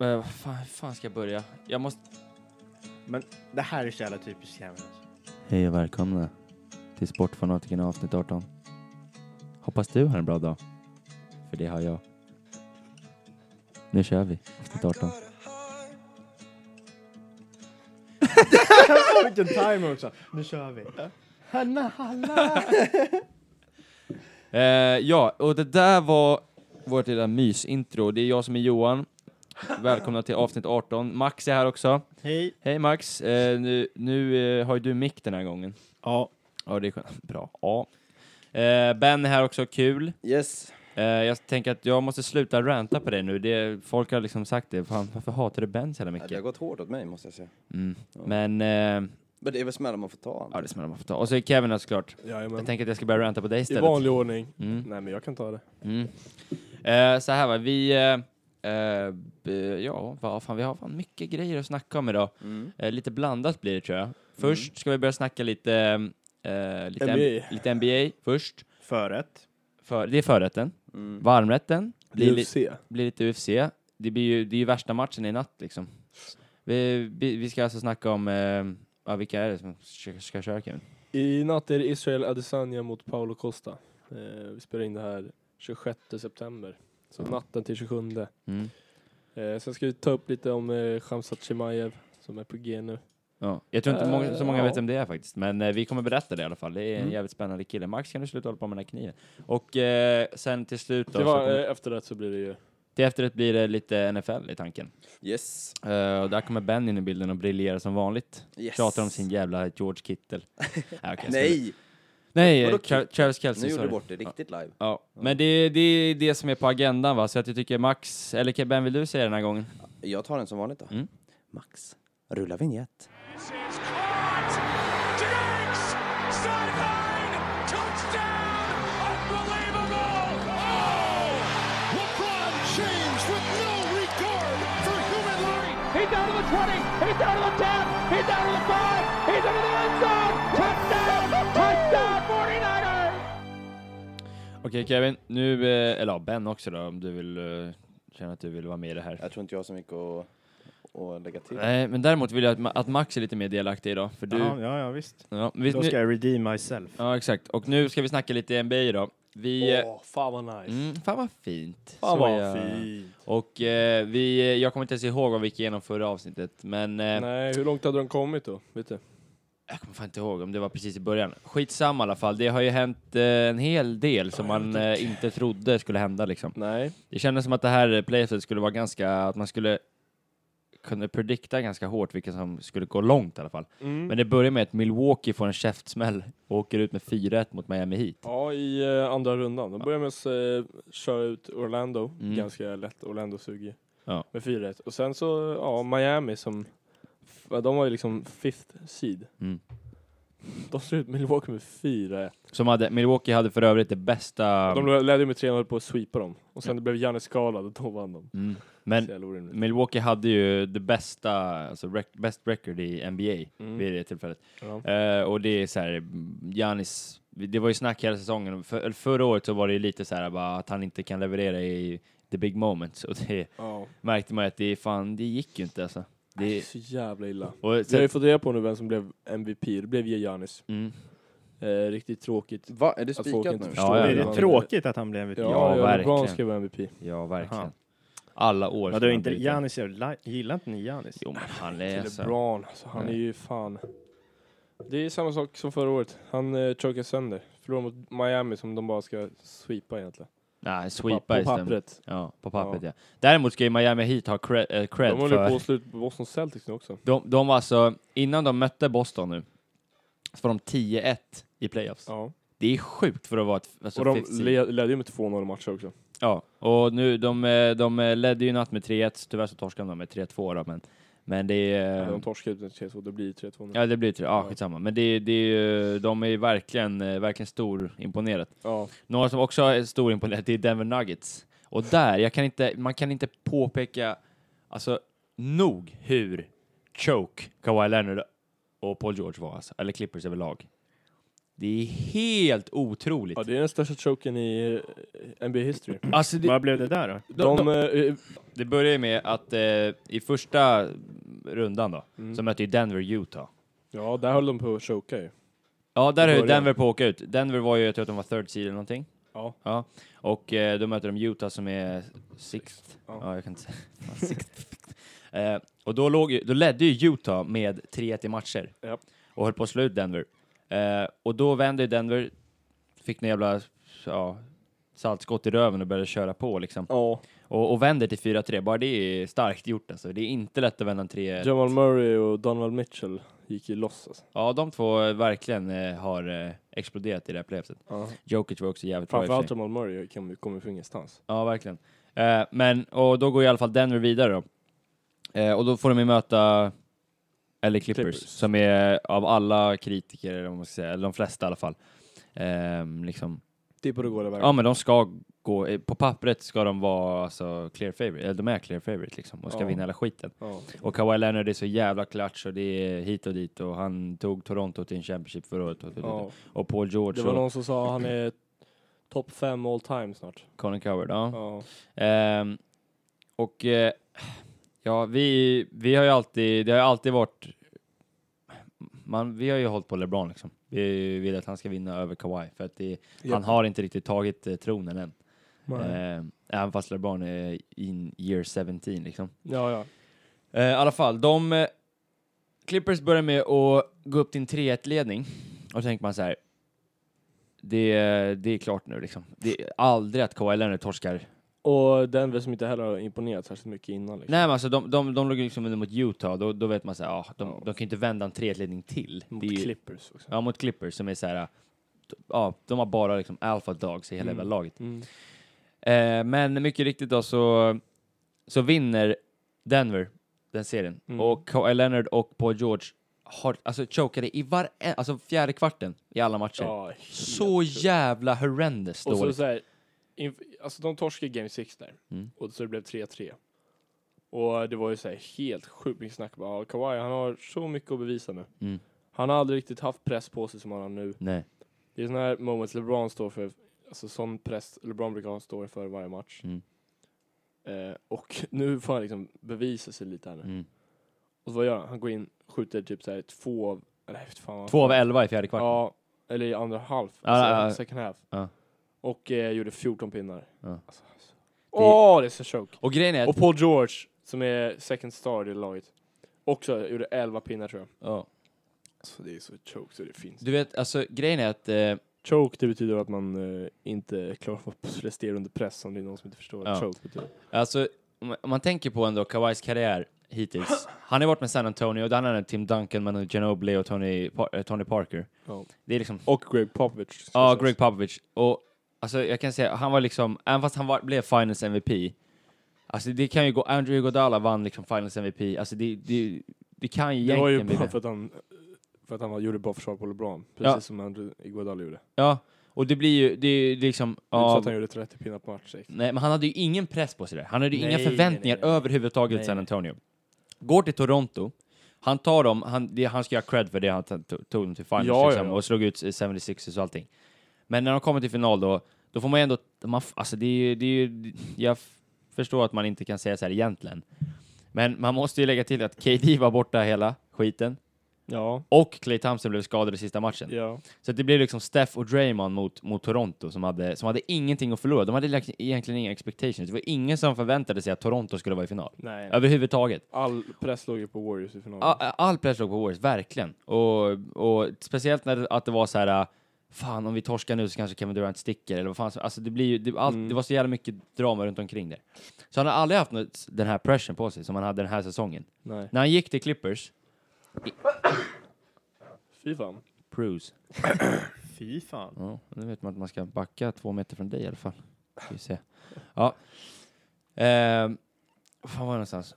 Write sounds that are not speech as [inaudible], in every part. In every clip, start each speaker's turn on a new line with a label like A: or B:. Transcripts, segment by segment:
A: Eh, vad fan, hur fan ska jag börja? Jag måste...
B: Men det här är så jävla typiskt Kevin. Alltså.
C: Hej och välkomna till Sportfanatikerna avsnitt 18. Hoppas du har en bra dag, för det har jag. Nu kör vi, avsnitt 18.
B: Jag har vilken timer också. Nu kör vi. Hanna Halla!
A: Eh, ja, och det där var vårt lilla mysintro. Det är jag som är Johan. Välkomna till avsnitt 18. Max är här också.
B: Hej.
A: Hej Max! Eh, nu nu eh, har ju du mick den här gången.
B: Ja.
A: Ja, det är skönt. Bra. Ja. Eh, ben är här också, kul.
C: Yes.
A: Eh, jag tänker att jag måste sluta ranta på dig nu. Det, folk har liksom sagt det. Fan, varför hatar du Ben så jävla
D: Ja, det har
A: mycket?
D: gått hårt åt mig måste jag säga.
A: Mm. Men, eh,
D: Men det är väl smällar man får ta.
A: ja det smäller man får ta. Och så är Kevin här såklart. Jag
E: Jajamän.
A: tänkte att jag ska börja ranta på dig
E: I
A: istället.
E: vanlig ordning.
A: Mm.
E: Nej, men jag kan ta det.
A: Mm. Eh, så här va, vi... Eh, eh, b- ja, vad fan, vi har fan mycket grejer att snacka om idag.
D: Mm.
A: Eh, lite blandat blir det tror jag. Först ska vi börja snacka lite... Eh, lite,
E: NBA.
A: lite NBA först.
B: Förrätt.
A: För, det är förrätten.
D: Mm.
A: Varmrätten. Blir, li,
E: UFC.
A: blir lite UFC. Det, blir ju, det är ju värsta matchen i natt liksom. Vi, vi, vi ska alltså snacka om... Eh, ja, vilka är det som ska, ska köra Kevin?
E: I natt är det Israel Adesanya mot Paolo Costa. Eh, vi spelar in det här 26 september. Så natten till 27.
A: Mm.
E: Eh, sen ska vi ta upp lite om eh, Khamzat Chimaev som är på G nu.
A: Ja. Jag tror inte många, så
E: Eh,
A: många
E: ja.
A: vet vem det är faktiskt, men eh, vi kommer berätta det i alla fall. Det är en
E: Mm.
A: jävligt spännande kille. Max, kan du sluta hålla på med den här kniven? Och eh, sen till slut då,
E: Det
A: så
E: var,
A: kommer,
E: eh, efter det så blir det ju...
A: till efterrätt blir det lite NFL i tanken.
D: Yes.
A: Eh, och där kommer Ben in i bilden och briljerar som vanligt.
D: yes.
A: Tjatar om sin jävla George
D: [laughs]
A: Kittel. Ja, okej, jag ska-
D: Nej!
A: Nej, eh,
D: Vadå
A: Tra- Travis Kelce.
D: Nu gjorde
A: sorry.
D: du bort det riktigt live.
A: Ja, men det, det är det som är på agendan va, så att jag tycker Max, eller Ben vill du säga den här gången?
D: Jag tar den som vanligt då.
A: Mm.
D: Max, rulla vignett.
F: is caught. Diggs! Sideline! Touchdown! Unbelievable! Oh! LeBron James with no regard for human life! He's down to the 20! He's down to the 10! He's down to the 5! He's into the end zone! Touchdown! Touchdown! 49ers!
A: Okej Kevin, nu, eh, eller ja, Ben också då om du vill, eh, känner att du vill vara med i det här.
D: Jag tror inte jag har så mycket att, att lägga till.
A: Nej, men däremot vill jag att, Ma- att Max är lite mer delaktig idag, för du...
B: Ja, ja, ja, visst.
A: Ja, vi,
B: Då
A: nu,
B: ska jag redeem myself.
A: ja, exakt. Och nu ska vi snacka lite NBA idag. Vi... eh,
E: Åh, fan vad nice.
A: Mm, fan vad fint.
E: Fan
A: Så
E: vad
A: ja.
E: fint.
A: Och eh, vi, eh, jag kommer inte ens ihåg vad vi gick igenom förra avsnittet, men eh,
E: Nej, hur långt hade de kommit då? Vet du?
A: jag kommer fan inte ihåg om det var precis i början. Skitsamma i alla fall, det har ju hänt eh, en hel del som man eh, inte trodde skulle hända liksom.
E: Nej.
A: Det kändes som att det här playoffet skulle vara ganska, att man skulle kunna predikta ganska hårt vilka som skulle gå långt i alla fall.
E: Mm.
A: Men det börjar med att Milwaukee får en käftsmäll och åker ut med 4-1 mot Miami Heat.
E: Ja, i eh, andra rundan. De börjar med att eh, köra ut Orlando,
A: Mm.
E: ganska lätt. Orlando suger
A: Ja.
E: med 4-1. Och sen så, ja, Miami som, f- de var ju liksom fifth seed.
A: Mm.
E: De slår ut Milwaukee med 4-1.
A: Som hade, Milwaukee hade för övrigt det bästa...
E: De ledde ju med 3 och höll på att sweepa dem. Och sen det blev Janne skadad och då vann de.
A: Mm.
E: Så
A: Men
E: jävla orimligt.
A: Milwaukee hade ju det bästa, alltså rec best record i NBA
E: Mm.
A: vid det tillfället.
E: Ja.
A: Eh, och det är så här, Giannis, det var ju snack hela säsongen. För, eller förra året så var det ju lite så här bara att han inte kan leverera i the big moments. Och det
E: Ja.
A: märkte man ju att det fan, det gick ju inte alltså.
E: Det är
A: Det,
E: så jävla illa.
A: och
E: Vi har
A: sen,
E: ju fått reda på nu vem som blev MVP. Det blev ju Giannis.
A: mm,
E: Eh, riktigt tråkigt.
D: Va? Är det
E: folk
D: spikat
E: inte
D: nu?
E: förstår.
A: Ja,
B: det är
A: ja.
B: det tråkigt att han blev MVP. Ja.
A: Ja,
E: Ja, ja LeBron
A: verkligen.
E: ska vara MVP.
A: ja, verkligen.
B: Jaha.
A: Alla år.
B: Men
A: som
B: du
A: han
B: inte,
A: blivit-
B: Giannis, gör- la- gillar inte ni Giannis?
A: Jo, men han är
E: Till
A: så.
E: LeBron, alltså, han
A: Nej.
E: är ju fan... Det är samma sak som förra året. Han eh, chokar sönder. Förlorar mot Miami som de bara ska sweepa egentligen.
A: Nej,
E: på,
A: sweepa
E: på
A: istället.
E: pappret.
A: Ja, på pappret ja. Däremot ska ju Miami Heat ha cred, eh,
E: De
A: cred
E: håller på
A: för...
E: att slå ut Boston Celtics nu också.
A: De, de var alltså, innan de mötte Boston nu, så var de 10-1 i playoffs.
E: Ja.
A: Det är sjukt för att vara ett... Alltså
E: Och de
A: fifth seed.
E: le- ledde ju med 2-0 matcher också.
A: Ja, och nu, de, eh, de eh, ledde ju i natt med 3-1, så tyvärr så torskade de med 3-2 då, men, men det är... eh,
E: De torskar ut en 3-2, det blir 3-2 nu. Ja.
A: Ja, det blir tre, ja, skitsamma. Men det, det är ju, de är ju verkligen, eh, verkligen stor imponerat. Några som också är stor imponerad, det är Denver Nuggets. Och där, jag kan inte, man kan inte påpeka alltså, nog hur choke Kawhi Leonard och Paul George var, alltså, eller Clippers överlag. Det är helt otroligt.
E: Ja, det är den största choken i eh, NBA history.
A: Alltså, det,
B: Vad blev det där då?
E: De, eh,
A: det börjar ju med att eh, i första rundan då,
E: Mm.
A: så mötte ju Denver Utah.
E: ja, där höll de på att choka ju.
A: Ja, där höll ju
E: Börja.
A: Denver på att åka ut. Denver var ju, jag tror att de var third seed eller någonting.
E: Ja.
A: ja. Och eh, då möter de Utah som är sixth.
E: Ja.
A: Ja, jag kan inte säga. [laughs] Fan, sixth. eh, och då, låg, ju- då ledde ju Utah med 3-1 i matcher.
E: Ja.
A: Och höll på att slå ut Denver. Eh, och då vände ju Denver, fick några jävla ja, saltskott i röven och började köra på liksom.
E: Ja,
A: Och, och vänder till 4-3, bara det är starkt gjort alltså. Det är inte lätt att vända en 3
E: Jamal Murray och Donald Mitchell gick ju loss alltså.
A: Ja, de två eh, verkligen eh, har eh, exploderat i det här playoffset.
E: Ja.
A: Jokic var också jävligt bra i och för sig.
E: Framförallt Jamal Murray kom- kommer från ingenstans.
A: Ja, verkligen. Eh, men, och då går i alla fall Denver vidare då. Eh, och då får de ju möta LA Clippers,
E: Clippers.
A: som är eh, av alla kritiker, eller vad man ska säga, eller de flesta i alla fall. Ehm, liksom.
E: Det borde gå det
A: Ja, men de ska gå, eh, på pappret ska de vara alltså clear favorite, eller de är clear favorite liksom, och ska
E: Ja.
A: vinna hela skiten.
E: Ja.
A: Och Kawhi Leonard är så jävla klatsch och det är hit och dit och han tog Toronto till en Championship förra året. Och,
E: Ja.
A: och Paul George
E: Det var
A: och
E: någon som sa han är topp fem all time snart.
A: Colin Coward, ja.
E: Ja.
A: Ehm, och eh, ja, vi, vi har ju alltid, det har ju alltid varit, man, vi har ju hållit på LeBron liksom. Vi vill att han ska vinna över Kawhi för att det, han har inte riktigt tagit eh, tronen än. Ehm, även fast LeBron är in year 17 liksom.
E: Ja, ja.
A: Eh, I alla fall, de eh, Clippers börjar med att gå upp till en 3-1-ledning och så tänker man så här. Det, det är klart nu liksom. Det är aldrig att Kawhi Leonard torskar
E: Och Denver som inte heller har imponerat särskilt mycket innan. Liksom.
A: Nej men alltså de, de, de låg liksom under mot Utah, då, då vet man såhär, ah, de,
E: Ja.
A: de kan inte vända en 3-1-ledning till.
E: Mot
A: Det är ju-
E: Clippers också.
A: Ja, mot Clippers som är såhär, ja, de har bara liksom alpha dogs i hela
E: Mm.
A: jävla laget.
E: Mm.
A: Eh, men mycket riktigt då så, så vinner Denver den serien.
E: Mm.
A: Och Kawhi Leonard och Paul George har, alltså chokade i var, alltså fjärde kvarten i alla matcher.
E: Ja, helt
A: Så
E: sjukt.
A: jävla horrendous
E: Och så,
A: dåligt.
E: så här, inf- alltså de torskade game 6 där.
A: Mm.
E: Och så det blev 3-3. Och det var ju så här helt sjukt mycket snack. Bara, "Ah, Kawhi, han har så mycket att bevisa nu.
A: Mm.
E: Han har aldrig riktigt haft press på sig som han har nu.
A: Nej.
E: Det är sådana här moments LeBron står för. Alltså sån press LeBron brukar ha står för varje match.
A: Mm.
E: Eh, och [laughs] nu får han liksom bevisa sig lite här nu.
A: Mm.
E: Och vad gör han? Han går in, skjuter typ så här två av... Nej, fy fan vad-
A: Två av elva i fjärde kvarten.
E: Ja, eller i andra halv.
A: Ja,
E: alltså,
A: ja, ja.
E: Second half.
A: Ja.
E: Och eh, gjorde 14 pinnar.
A: Ja.
E: Alltså, alltså. Åh, det är så choke.
A: Och grejen är att
E: Och Paul George, som är second star i det laget, också gjorde 11 pinnar tror jag.
A: Ja.
E: Alltså det är så choke så det finns.
A: Du vet, alltså grejen är att eh,
E: Choke, det betyder att man eh, inte klarar av att prestera under press, om det är någon som inte förstår vad
A: Ja.
E: choke betyder.
A: Alltså, om man- om man tänker på ändå Kawhis karriär hittills. Han har varit med San Antonio, där han är Tim Duncan, Manu Ginobili och Tony, Pa- eh, Tony Parker.
E: Ja.
A: Det är liksom,
E: Och Greg Popovich. ska
A: ja,
E: sägas.
A: Greg Popovich. Och alltså, jag kan säga, han var liksom, även fast han var, blev Finals MVP, alltså det kan ju gå, Andrew Iguodala vann liksom Finals MVP, alltså det, det, det kan ju
E: Det var ju
A: egentligen bli
E: bara
A: det.
E: för att han, för att han var, gjorde bra försvar på LeBron, precis
A: Ja.
E: som Andrew Iguodala gjorde.
A: Ja, och det blir ju, det är ju liksom,
E: Det är inte så
A: ja,
E: att han gjorde 30 pinnar på match. direkt.
A: Nej, men han hade ju ingen press på sig där. Han hade ju
E: Nej,
A: inga
E: nej,
A: förväntningar
E: nej, nej.
A: överhuvudtaget i
E: Nej,
A: San
E: nej.
A: Antonio. Går till Toronto, han tar dem, han, det, han ska ha cred för det, han tog, tog dem till finals
E: Ja, ja,
A: liksom,
E: ja.
A: och slog ut 76ers och allting. Men när de kommer till final då, då får man ju ändå, man, f- alltså det är ju, det är ju, jag f- förstår att man inte kan säga så här egentligen. Men man måste ju lägga till att KD var borta hela skiten,
E: Ja,
A: och Clay Thompson blev skadad i sista matchen.
E: ja.
A: Så det blev liksom Steph och Draymond mot, mot Toronto som hade, som hade ingenting att förlora. De hade liksom egentligen inga expectations. Det var ingen som förväntade sig att Toronto skulle vara i final.
E: Nej.
A: Överhuvudtaget.
E: All press låg ju på Warriors i finalen.
A: All, all press låg på Warriors, verkligen. Och, och speciellt när det, att det var så här, äh, fan om vi torskar nu så kanske Kevin Durant sticker eller vad fan som- Alltså det blir ju, det, allt, det var så jävla mycket drama runt omkring det. Så han har aldrig haft något, den här pressen på sig som han hade den här säsongen.
E: Nej.
A: När han gick till Clippers,
E: Fy fan.
A: Bruce.
B: Fy fan.
A: Ja, nu vet man att man ska backa två meter från dig i alla fall. Ska vi se. Ja. Ehm, fan var jag någonstans?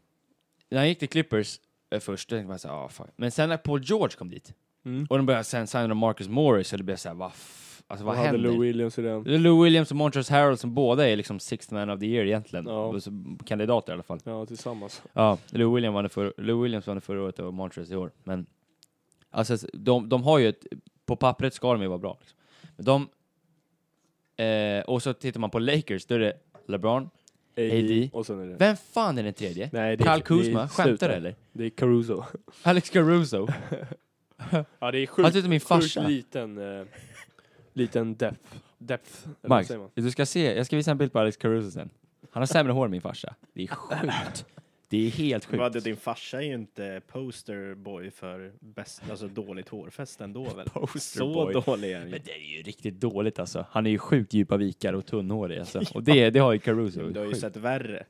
A: När han gick till Clippers eh, först, då tänkte man såhär, ah, fan. Men sen när Paul George kom dit,
E: Mm.
A: och de började sen signa Marcus Morris, och det blev såhär, vad f- alltså, vad
E: Och hade
A: händer?
E: Lou Williams i den.
A: Det är Lou Williams och Montrezl Harrell som båda är liksom sixth man of the year egentligen.
E: Ja.
A: Ja. Kandidater i alla fall.
E: Ja, tillsammans.
A: Ja, Lou Williams vann det, för, Lou Williams vann det förra året och Montrezl i år. Men alltså, de, de har ju ett på pappret ska de ju vara bra. Liksom. Men de, eh, och så tittar man på Lakers, då är det LeBron. AD.
E: Och sen är det...
A: Vem fan är den tredje?
E: Nej,
A: Kyle
E: det är
A: Kuzma?
E: slut
A: Skämtar du
E: där.
A: eller?
E: Det är Caruso.
A: Alex Caruso?
E: Ja, det
A: Han
E: är sjukt,
A: ser ut som min
E: sjukt
A: farsa.
E: liten, eh, liten depth. Depth, eller vad
A: Max,
E: säger man?
A: du ska se, jag ska visa en bild på Alex Caruso sen. Han har sämre hår än min farsa. Det är sjukt. Det är helt
B: Vad,
A: sjukt.
B: din farsa är ju inte posterboy för bäst, alltså dåligt hårfäst ändå
A: [laughs]
B: väl? Så
A: Posterboy.
B: dålig är han ju.
A: Men det är ju riktigt dåligt alltså. Han är ju sjukt djupa vikar och tunnhårig alltså. Och det, det har ju Caruso.
B: Du har ju
A: Sjukt.
B: sett värre.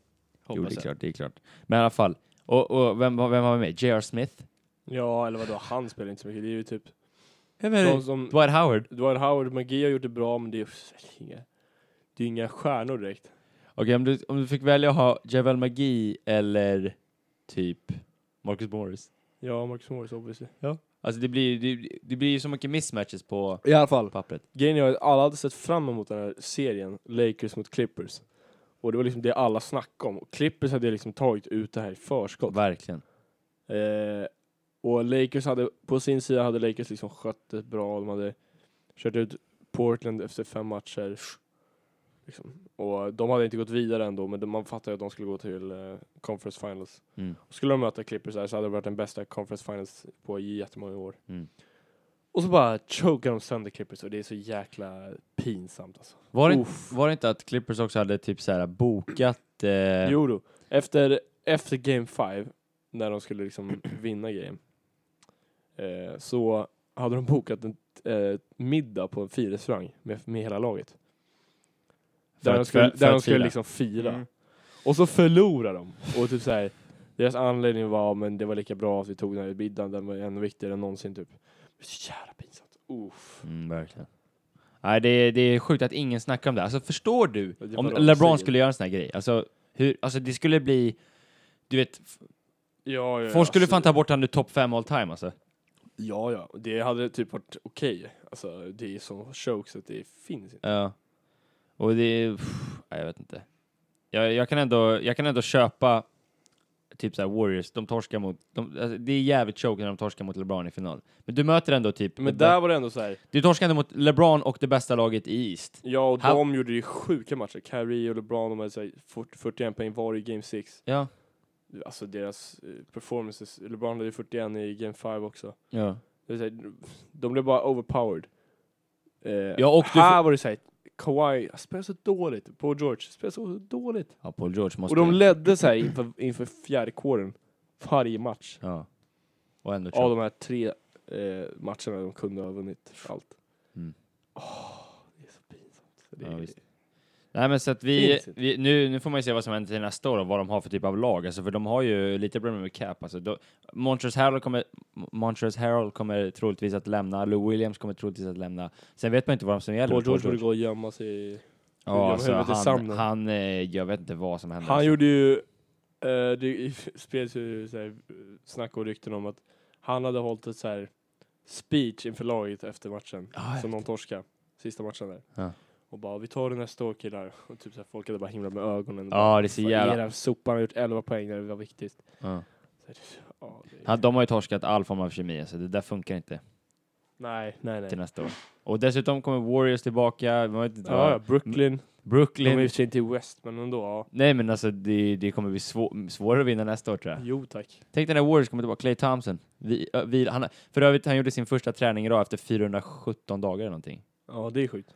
A: Jo, det
B: Hoppas
A: är
B: jag.
A: klart, det är klart. Men i alla fall. Och, och vem, var- vem var med? J.R. Smith?
E: Ja, eller vadå, han spelar inte så mycket. Det är ju typ...
A: Vem
E: De som,
A: Dwight Howard?
E: Dwight Howard, Magi har gjort det bra, men det är ju inga, det är inga stjärnor direkt.
A: Okej, om, du, om du fick välja att ha Javel McGee eller typ Marcus Morris.
E: Ja, Marcus Morris obviously.
A: Alltså det blir, det, det blir ju så mycket mismatches på
E: I alla fall.
A: pappret.
E: Grejen är att alla hade sett fram emot den här serien, Lakers mot Clippers. Och det var liksom det alla snackade om. Och Clippers hade liksom tagit ut det här i förskott.
A: Verkligen.
E: Eh, och Lakers hade, på sin sida hade Lakers liksom skött det bra. De hade kört ut Portland efter fem matcher. Liksom. Och de hade inte gått vidare ändå, men de- man fattade ju att de skulle gå till eh, Conference Finals.
A: Mm.
E: Och skulle de möta Clippers där så hade det varit den bästa Conference Finals på jättemånga år.
A: Mm.
E: Och så bara chokar de sönder Clippers och det är så jäkla pinsamt alltså.
A: Var det,
E: Uff.
A: var det inte att Clippers också hade typ så här bokat... Eh,
E: Jo då. Efter, efter game 5, när de skulle liksom [clears throat] vinna game, eh, så hade de bokat en eh, middag på en firarestaurang med, med hela laget.
A: För
E: Där de
A: att-
E: skulle,
A: för- för
E: där de
A: att
E: skulle
A: fira.
E: liksom fira.
B: Mm.
E: Och så förlorar de. Och typ så här, deras anledning var men det var lika bra att vi tog den här middagen, den var ännu viktigare än någonsin typ. Så jävla pinsamt. Uff.
A: Mm, verkligen. Nej, det är, det är sjukt att ingen snackar om det. Alltså förstår du
E: Det är
A: om
E: bara
A: LeBron
E: säger.
A: skulle göra en sån här grej? Alltså, hur, alltså det skulle bli... Du vet,
E: Ja, ja,
A: folk skulle
E: alltså-
A: fan ta bort han ur topp 5 all time alltså.
E: Ja, ja. Det hade typ varit okej. Alltså, det är så choke så att det finns inte.
A: Ja. Och det är... pff, nej, jag vet inte. Jag, jag, kan ändå, jag kan ändå köpa typ så här Warriors, de torskar mot... De, alltså, det är jävligt choke när de torskar mot LeBron i final. Men du möter ändå typ...
E: Men
A: det bä-
E: där var det ändå så här.
A: Du torskar ändå mot LeBron och det bästa laget i East.
E: Ja, och
A: Han-
E: de gjorde ju sjuka matcher. Kyrie och LeBron, de hade så här 40, 41 poäng var i Game 6.
A: Ja.
E: Alltså deras eh, performances. LeBron hade ju 41 i Game 5 också.
A: Ja.
E: Det vill säga, de blev bara overpowered. Eh,
A: Ja, och du
E: här var det såhär, Kawhi spelar så dåligt. Paul George spelar så dåligt.
A: ja Paul George måste...
E: Och de ledde såhär inför, inför fjärde kåren varje match.
A: ja. Och ändå choke.
E: Av de här tre eh, matcherna de kunde ha vunnit allt.
A: Mm.
E: Åh, det är så pinsamt. Det
A: Ja,
E: är,
A: visst. Nej men så att vi,
E: Finns inte.
A: vi nu, nu får man ju se vad som händer till nästa år och vad de har för typ av lag, alltså för de har ju lite problem med cap, alltså då, Montrezl Harrell kommer, Montrezl Harrell kommer troligtvis att lämna, Lou Williams kommer troligtvis att lämna, sen vet man inte vad som gäller.
E: Paul George borde gå och gömma sig i
A: ja, alltså,
E: huvudet i
A: han,
E: sanden.
A: han, eh, jag vet inte vad som händer.
E: Han
A: alltså.
E: gjorde ju, eh, det [laughs] spreds ju så här, eh, snack och rykten om att han hade hållit ett så här speech inför laget efter matchen,
A: Ja, Ah, jag
E: som de torskade, sista matchen där.
A: Ja.
E: Och bara, vi tar det nästa år killar. Och typ så här, folk hade bara himlat med ögonen.
A: Ja, det är så jävla...
E: Era sopar har gjort 11 poäng när det var viktigt.
A: Ja.
E: Så här, ja, det,
A: Han, de har ju torskat all form av kemi, alltså det där funkar inte
E: nej, nej,
A: till
E: nej.
A: nästa år. Och dessutom kommer Warriors tillbaka, man vet inte
E: Ja, ja,
A: vad,
E: Brooklyn. De är
A: Brooklyn.
E: i och för sig inte i West, men ändå. Ja.
A: Nej men alltså det, det kommer bli svå, svårare att vinna nästa år tror jag.
E: Jo tack.
A: Tänk den där Warriors kommer tillbaka, Clay Thompson. Vi, ö, vi, han, för övrigt, han gjorde sin första träning idag efter 417 dagar eller någonting.
E: Ja, det är sjukt.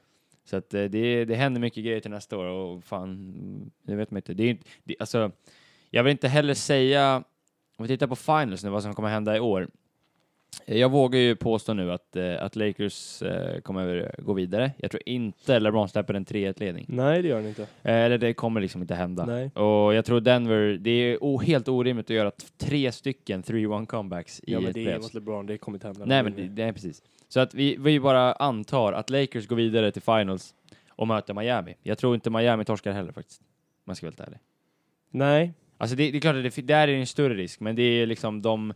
A: Så att eh, det, det händer mycket grejer till nästa år och fan, mm, det vet man inte. Det är inte det, alltså, jag vill inte heller säga, om vi tittar på finals nu, vad som kommer hända i år. Eh, Jag vågar ju påstå nu att, eh, att Lakers eh, kommer gå vidare. Jag tror inte LeBron släpper en 3-1-ledning.
E: Nej, det gör den inte.
A: Eh, Eller det kommer liksom inte hända.
E: Nej.
A: Och jag tror Denver, det är o- helt orimligt att göra t- tre stycken 3-1 comebacks i
E: Ja, men
A: ett
E: det är
A: brett.
E: mot LeBron, det kommer inte hända.
A: Nej men det, det är precis. Så att vi, vi bara antar att Lakers går vidare till finals och möter Miami. Jag tror inte Miami torskar heller faktiskt. Om man ska vara helt ärlig.
E: Nej,
A: Alltså det, det är klart att det, fi- där är det en större risk, men det är liksom de...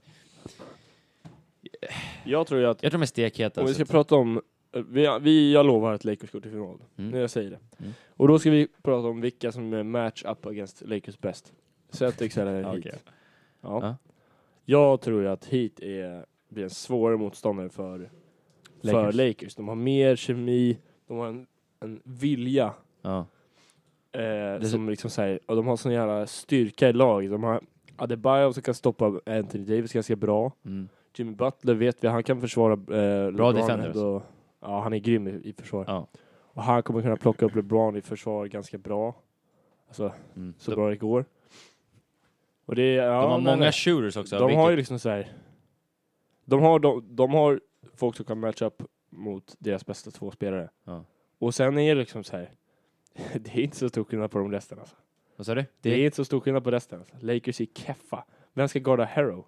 E: jag tror ju att
A: Jag tror de är stekheta. alltså.
E: Om vi
A: så
E: ska
A: att-
E: prata om, eh, vi, vi, jag lovar att Lakers går till final.
A: Mm.
E: När jag säger det.
A: Mm.
E: Och då ska vi prata om vilka som är match-up against Lakers bäst.
A: [laughs]
E: Celtics eller Heat.
A: Okej.
E: Ja.
A: Ja.
E: Jag tror ju att Heat är, blir en svårare motståndare för, för
A: Lakers.
E: Lakers. De har mer kemi, de har en, en vilja
A: Ja.
E: eh, som liksom säger, och de har sån jävla styrka i laget. De har Adebayo som kan stoppa Anthony Davis ganska bra.
A: Mm.
E: Jimmy Butler vet vi, han kan försvara eh, LeBron
A: defender alltså.
E: ändå. Ja, han är grym i, i försvar.
A: Ja.
E: Och han kommer kunna plocka upp LeBron i försvar ganska bra. Alltså,
A: Mm.
E: så
A: de,
E: bra det går. Och det, är- ja,
A: de har
E: nej,
A: många
E: nej.
A: shooters också.
E: De
A: vilket-
E: har ju liksom så här. De har, de, de har folk som kan matcha upp mot deras bästa två spelare.
A: Ja.
E: Och sen är det liksom så här. [laughs] Det är inte så stor skillnad på de resten alltså.
A: Vad sa du?
E: Det, är inte så stor skillnad på resten. Alltså. Lakers är keffa. Vem ska garda Harrow?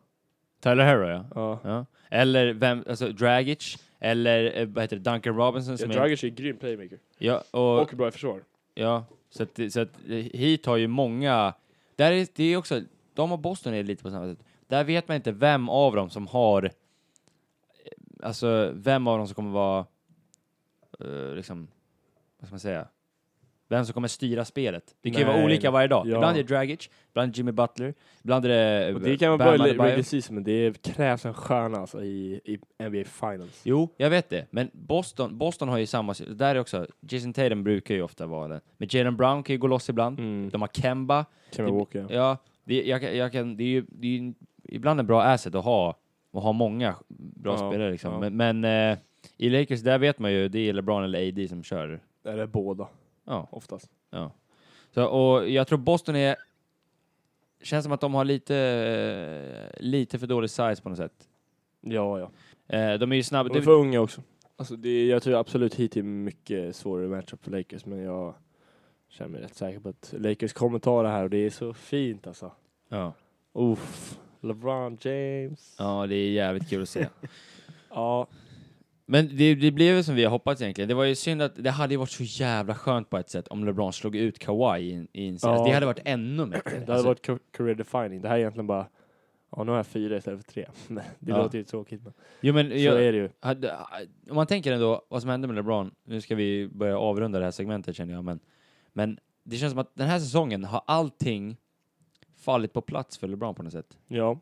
A: Tyler Herro, ja.
E: Ja.
A: ja. Eller vem, alltså Dragic, eller eh, vad heter det, Duncan Robinson
E: Ja,
A: som är...
E: Dragic är en grym playmaker.
A: Ja, och,
E: Och bra i försvar.
A: ja, så att, så att eh, Heat har ju många... Där är, det är också, de och Boston är lite på samma sätt. Där vet man inte vem av dem som har... eh, Alltså, vem av dem som kommer vara... eh, liksom, vad ska man säga? Vem som kommer styra spelet. Det kan ju
E: Nej,
A: vara olika varje dag.
E: ja.
A: Ibland är det Dragic, ibland är det Jimmy Butler, ibland är det...
E: Och det kan man
A: Bam
E: börja
A: Adebayo.
E: regular season, men det är- krävs en stjärna alltså, i, i NBA Finals.
A: Jo, jag vet det. Men Boston, Boston har ju samma... Där är också... Jason Tatum brukar ju ofta vara den. Men Jalen Brown kan ju gå loss ibland.
E: Mm.
A: De har Kemba.
E: Kemba
A: det-
E: Walker. ja.
A: Ja, det, jag, kan- jag kan, det är ju det är ju ibland en bra asset att ha. Och ha många bra
E: Ja,
A: spelare liksom.
E: ja.
A: Men, men eh, i Lakers, där vet man ju, det är LeBron eller AD som kör.
E: Eller båda,
A: Ja.
E: oftast.
A: Så, och jag tror Boston är... Känns som att de har lite, eh, lite för dålig size på något sätt.
E: Ja, ja.
A: Eh, de är ju snabba.
E: De är för unga också. Alltså det, jag tror absolut hit är mycket svårare matchup för Lakers, men jag känner mig rätt säker på att Lakers kommer ta det här och det är så fint alltså.
A: ja.
E: Uff. LeBron James.
A: ja, det är jävligt kul att se. [laughs]
E: Ja,
A: Men det, det blev ju som vi har hoppats egentligen. Det var ju synd att det hade ju varit så jävla skönt på ett sätt om LeBron slog ut Kawhi i, en- i en serie.
E: Ja.
A: Det hade varit ännu mer.
E: [clears throat]
A: Alltså,
E: det hade varit ca- career defining. Det här är egentligen bara, ja nu har jag fyra istället för tre. [laughs] Men det
A: Ja.
E: låter ju tråkigt men
A: Jo, men
E: så
A: jag,
E: är det ju.
A: hade, om man tänker ändå vad som hände med LeBron. Nu ska vi börja avrunda det här segmentet känner jag. Men, men det känns som att den här säsongen har allting fallit på plats för LeBron på något sätt.
E: Ja.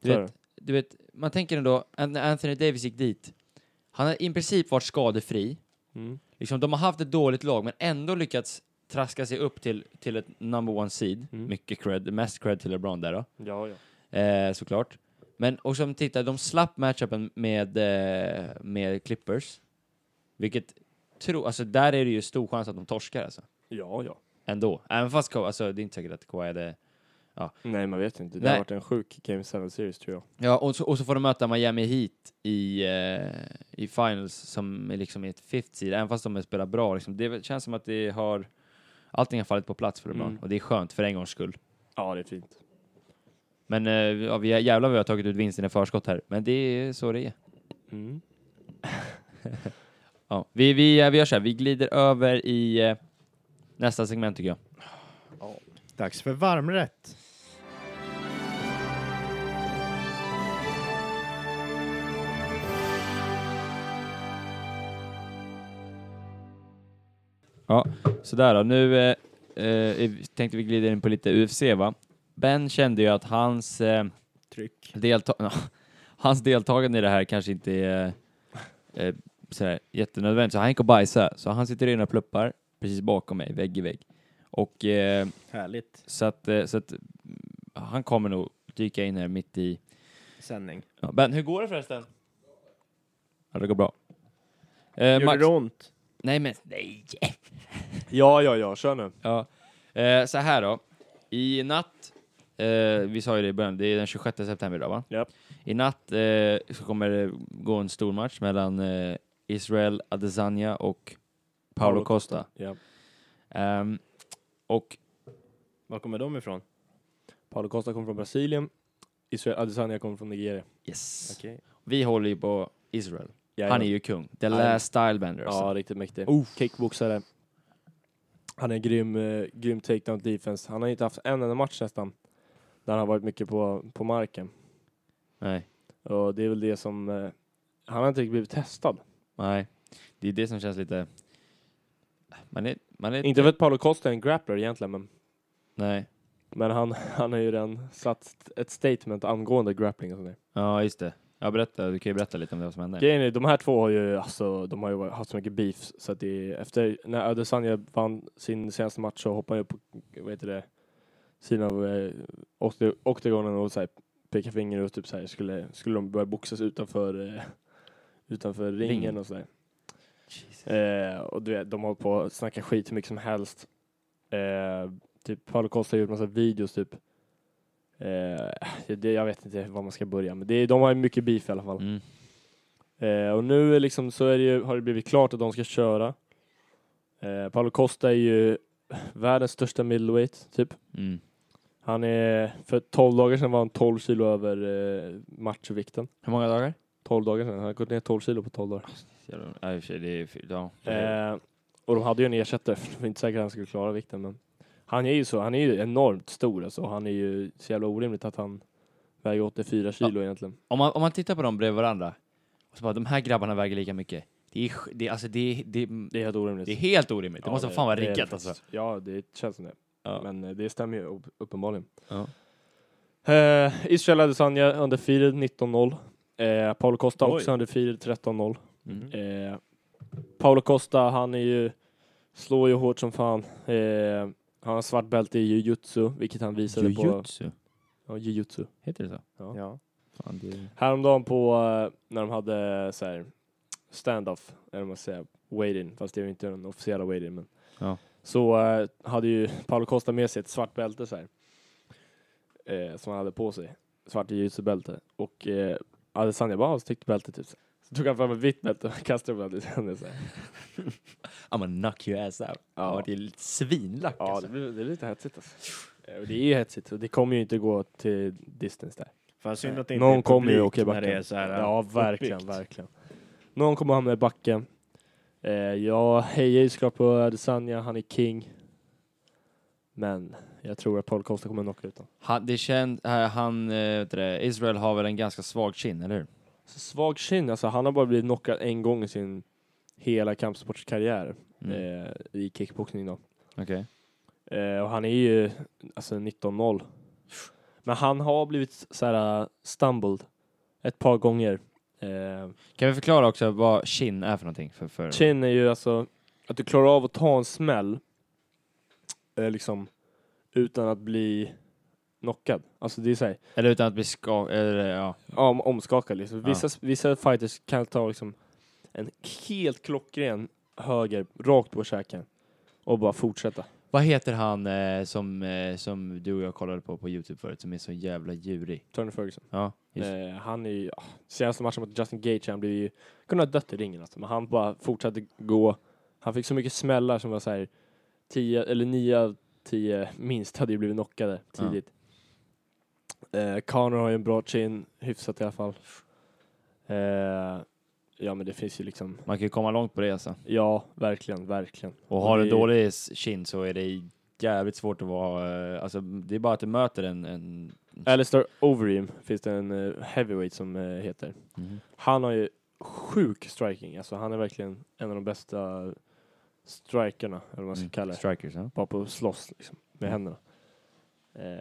A: Du
E: Så är
A: vet, du vet, man tänker ändå, an- när Anthony Davis gick dit, han har i princip varit skadefri.
E: det. Mm.
A: Liksom, de har haft ett dåligt lag, men ändå lyckats traska sig upp till, till ett number one seed.
E: Mm.
A: Mycket cred, mest cred till LeBron där då,
E: Ja, ja.
A: eh, såklart. Men och som tittar, de slapp matchupen med, eh, med Clippers. Vilket, tro, alltså där är det ju stor chans att de torskar alltså.
E: Ja, ja.
A: Ändå. Även fast Kawhi, alltså det är inte säkert att Kawhi hade...
E: Nej, man vet inte. Det
A: Nej.
E: har varit en sjuk Game 7 series tror jag.
A: Ja, och så, och så får de möta Miami Heat i, eh, i finals som är liksom i ett fifth seed, även fast de spelar bra. Liksom. Det känns som att det har... Allting har fallit på plats för LeBron
E: Mm.
A: och det är skönt för en gångs skull.
E: Ja, det är fint.
A: Men eh, ja, vi, jävlar vad vi har tagit ut vinsten i förskott här. Men det är så det är.
E: Mm.
A: [laughs] Ja. Vi, vi, eh, vi gör så här, vi glider över i eh, nästa segment tycker jag.
B: Dags för varmrätt.
A: Sådär då, nu eh, eh, tänkte vi glida in på lite UFC va? Ben kände ju att hans, eh,
B: Tryck.
A: delta- [laughs] hans deltagande i det här kanske inte är eh, sådär, jättenödvändigt, så han gick och bajsade. Så han sitter i några pluppar precis bakom mig, vägg i vägg. Och eh,
B: Härligt.
A: så att, eh, så att mm, han kommer nog dyka in här mitt i
B: Sändning.
A: Ja, ben, hur går det förresten? Ja, det går bra. Eh,
B: Gjorde
A: Max,
B: det ont?
A: nej men, nej!
E: Ja, ja, ja. Kör nu.
A: Ja. Eh, så här då, i natt, eh, vi sa ju det i början, det är den 26 september idag va?
E: Japp.
A: I natt eh, så kommer det gå en stor match mellan eh, Israel Adesanya och Paolo
E: Paolo
A: Costa.
E: Ja.
A: Ehm, och
B: Var kommer de ifrån?
E: Paolo Costa kommer från Brasilien. Israel Adesanya kommer från Nigeria.
A: yes,
B: Okej.
A: vi håller ju på Israel. Han är ju kung. The
E: Ja.
A: last stylebender. alltså.
E: Ja, riktigt mäktig. Kickboxare. Han är en grym, eh, grym takedown defense. Han har inte haft en enda match nästan. Där han har varit mycket på, på marken.
A: Nej,
E: Och det är väl det som... Eh, han har inte riktigt blivit testad.
A: nej. Det är det som känns lite... Man är... Man är
E: Inte för att Paolo Costa är en grappler egentligen, men,
A: Nej.
E: men han, han har ju redan satt ett statement angående grappling och sådär.
A: Ja, just det. Ja, berätta. Du kan ju berätta lite om det som hände.
E: Grejen är, de här två har ju, alltså, de har ju varit- haft så mycket beef så att det är, efter, när Adesanya vann sin senaste match så hoppade han upp på, vad heter det, sidan av eh, octa- Octagonen och så här, pekade finger och typ så här, skulle, skulle de börja boxas utanför, eh, utanför ringen
A: Ringen.
E: och så där. Eh, och du vet, de har hållit på att snacka skit hur mycket som helst. Eh, typ Paolo Costa har gjort massa videos typ. Eh, det, jag vet inte var man ska börja men det, är- de har ju mycket beef i alla fall.
A: Mm.
E: Eh, och nu är liksom, så är det ju, har det blivit klart att de ska köra. Eh, Paolo Costa är ju världens största middleweight, typ.
A: Mm.
E: Han är, för 12 dagar sedan var han 12 kilo över eh, matchvikten.
A: Hur många dagar?
E: 12 dagar sedan, han har gått ner 12 kilo på 12 dagar.
A: Jävlar. Ja, i och för sig, det är... fy- Ja.
E: Eh, och de hade ju en ersättare, för det var inte säkert att han skulle klara vikten. Men han är ju så, han är ju enormt stor alltså. Han är ju så jävla orimligt att han väger 84 kilo egentligen.
A: Om, man, om man tittar på dem bredvid varandra, och så bara, de här grabbarna väger lika mycket. Det är, sj- det, är- alltså, det, är- det, är-
E: Det är helt orimligt.
A: det är helt orimligt. Det
E: Ja,
A: måste fan vara
E: det är det
A: riggat alltså.
E: faktiskt. Ja, det känns som det.
A: Ja.
E: Men eh, det stämmer ju upp- uppenbarligen.
A: Ja.
E: Eh, Israel Adesanya undefeated 19-0. Eh, Paolo Costa
B: Oj.
E: också undefeated 13-0.
A: Mm.
E: Eh, Paolo Costa, han är ju, slår ju hårt som fan. Eh, han har svart bälte i jujutsu, vilket han visade på...
A: Jujutsu?
E: Ja, jujutsu.
A: Heter det så?
B: Ja.
A: Fan, det...
E: Häromdagen på eh, när de hade så här stand-off, eller vad man säger, wait-in, fast det är ju inte den officiella wait-in. Men
A: Ja.
E: Så eh, hade ju Paolo Costa med sig ett svart bälte så här, eh, som han hade på sig, svart jujutsu-bälte. Och eh, Adesanya bara, "Ah, så tyckte bältet ut. Så tog han fram ett vitt bälte och [laughs] kastade upp det till henne. Så här.
A: I'm gonna knock your ass out.
E: Ja.
A: Ja. Det är lite svinlack
E: Ja, det,
A: alltså.
E: blir- det är lite hetsigt alltså. Eh, och Det är ju hetsigt och det kommer ju inte gå till distance där.
B: Fan synd att det inte är
E: Någon
B: publik
E: kommer ju åka i
B: när det är
E: backen.
B: så här,
E: ja, verkligen,
B: uppbyggt.
E: verkligen. Någon kommer hamna i backen. Eh, jag hejar ju såklart på Adesanya, han är king. Men jag tror att Paul Costa kommer knocka ut honom.
A: Han, det känd, eh, han, eh, vet du det, Israel har väl en ganska svag kinn, eller hur?
E: Så svag kinn, alltså han har bara blivit knockad en gång i sin hela kampsportskarriär
A: Mm.
E: eh, i kickboxning då.
A: Okej.
E: Eh, och han är ju alltså 19-0. Men han har blivit så här eh, stumbled ett par gånger. Eh,
A: Kan vi förklara också vad kinn är för någonting? För, för...
E: Chin är ju alltså att du klarar av att ta en smäll eh, liksom utan att bli knockad. Alltså det är såhär,
A: Eller utan att bli skakad, eller ja.
E: om, omskakad liksom.
A: Ja.
E: Vissa, vissa fighters kan ta liksom en helt klockren höger rakt på käken och bara fortsätta.
A: Vad heter han eh, som, eh, som du och jag kollade på på Youtube förut, som är så jävla djurig?
E: Turner Ferguson.
A: Ja, just
E: Eh, han är ju, ah, senaste matchen mot Justin Gaethje, han blev ju, kunde ha dött i ringen alltså, men han bara fortsatte gå. Han fick så mycket smällar som var så här 10 eller 9 av 10 minst hade ju blivit knockade tidigt. Eh, Conor har ju en bra chin, hyfsat i alla fall. Eh, ja men det finns ju liksom,
A: Man kan ju komma långt på det alltså.
E: ja verkligen, verkligen.
A: Och
E: Och
A: har
E: det-
A: du dålig s- kinn så är det jävligt svårt att vara... eh, Alltså, det är bara att du möter en... en...
E: Alistair Overeem finns det en eh, heavyweight som eh, heter. Han har ju sjuk striking, alltså han är verkligen en av de bästa strikerna, eller vad man ska
A: Mm.
E: kalla det.
A: Strikers, ja.
E: Bara på att slåss liksom, med händerna. Eh,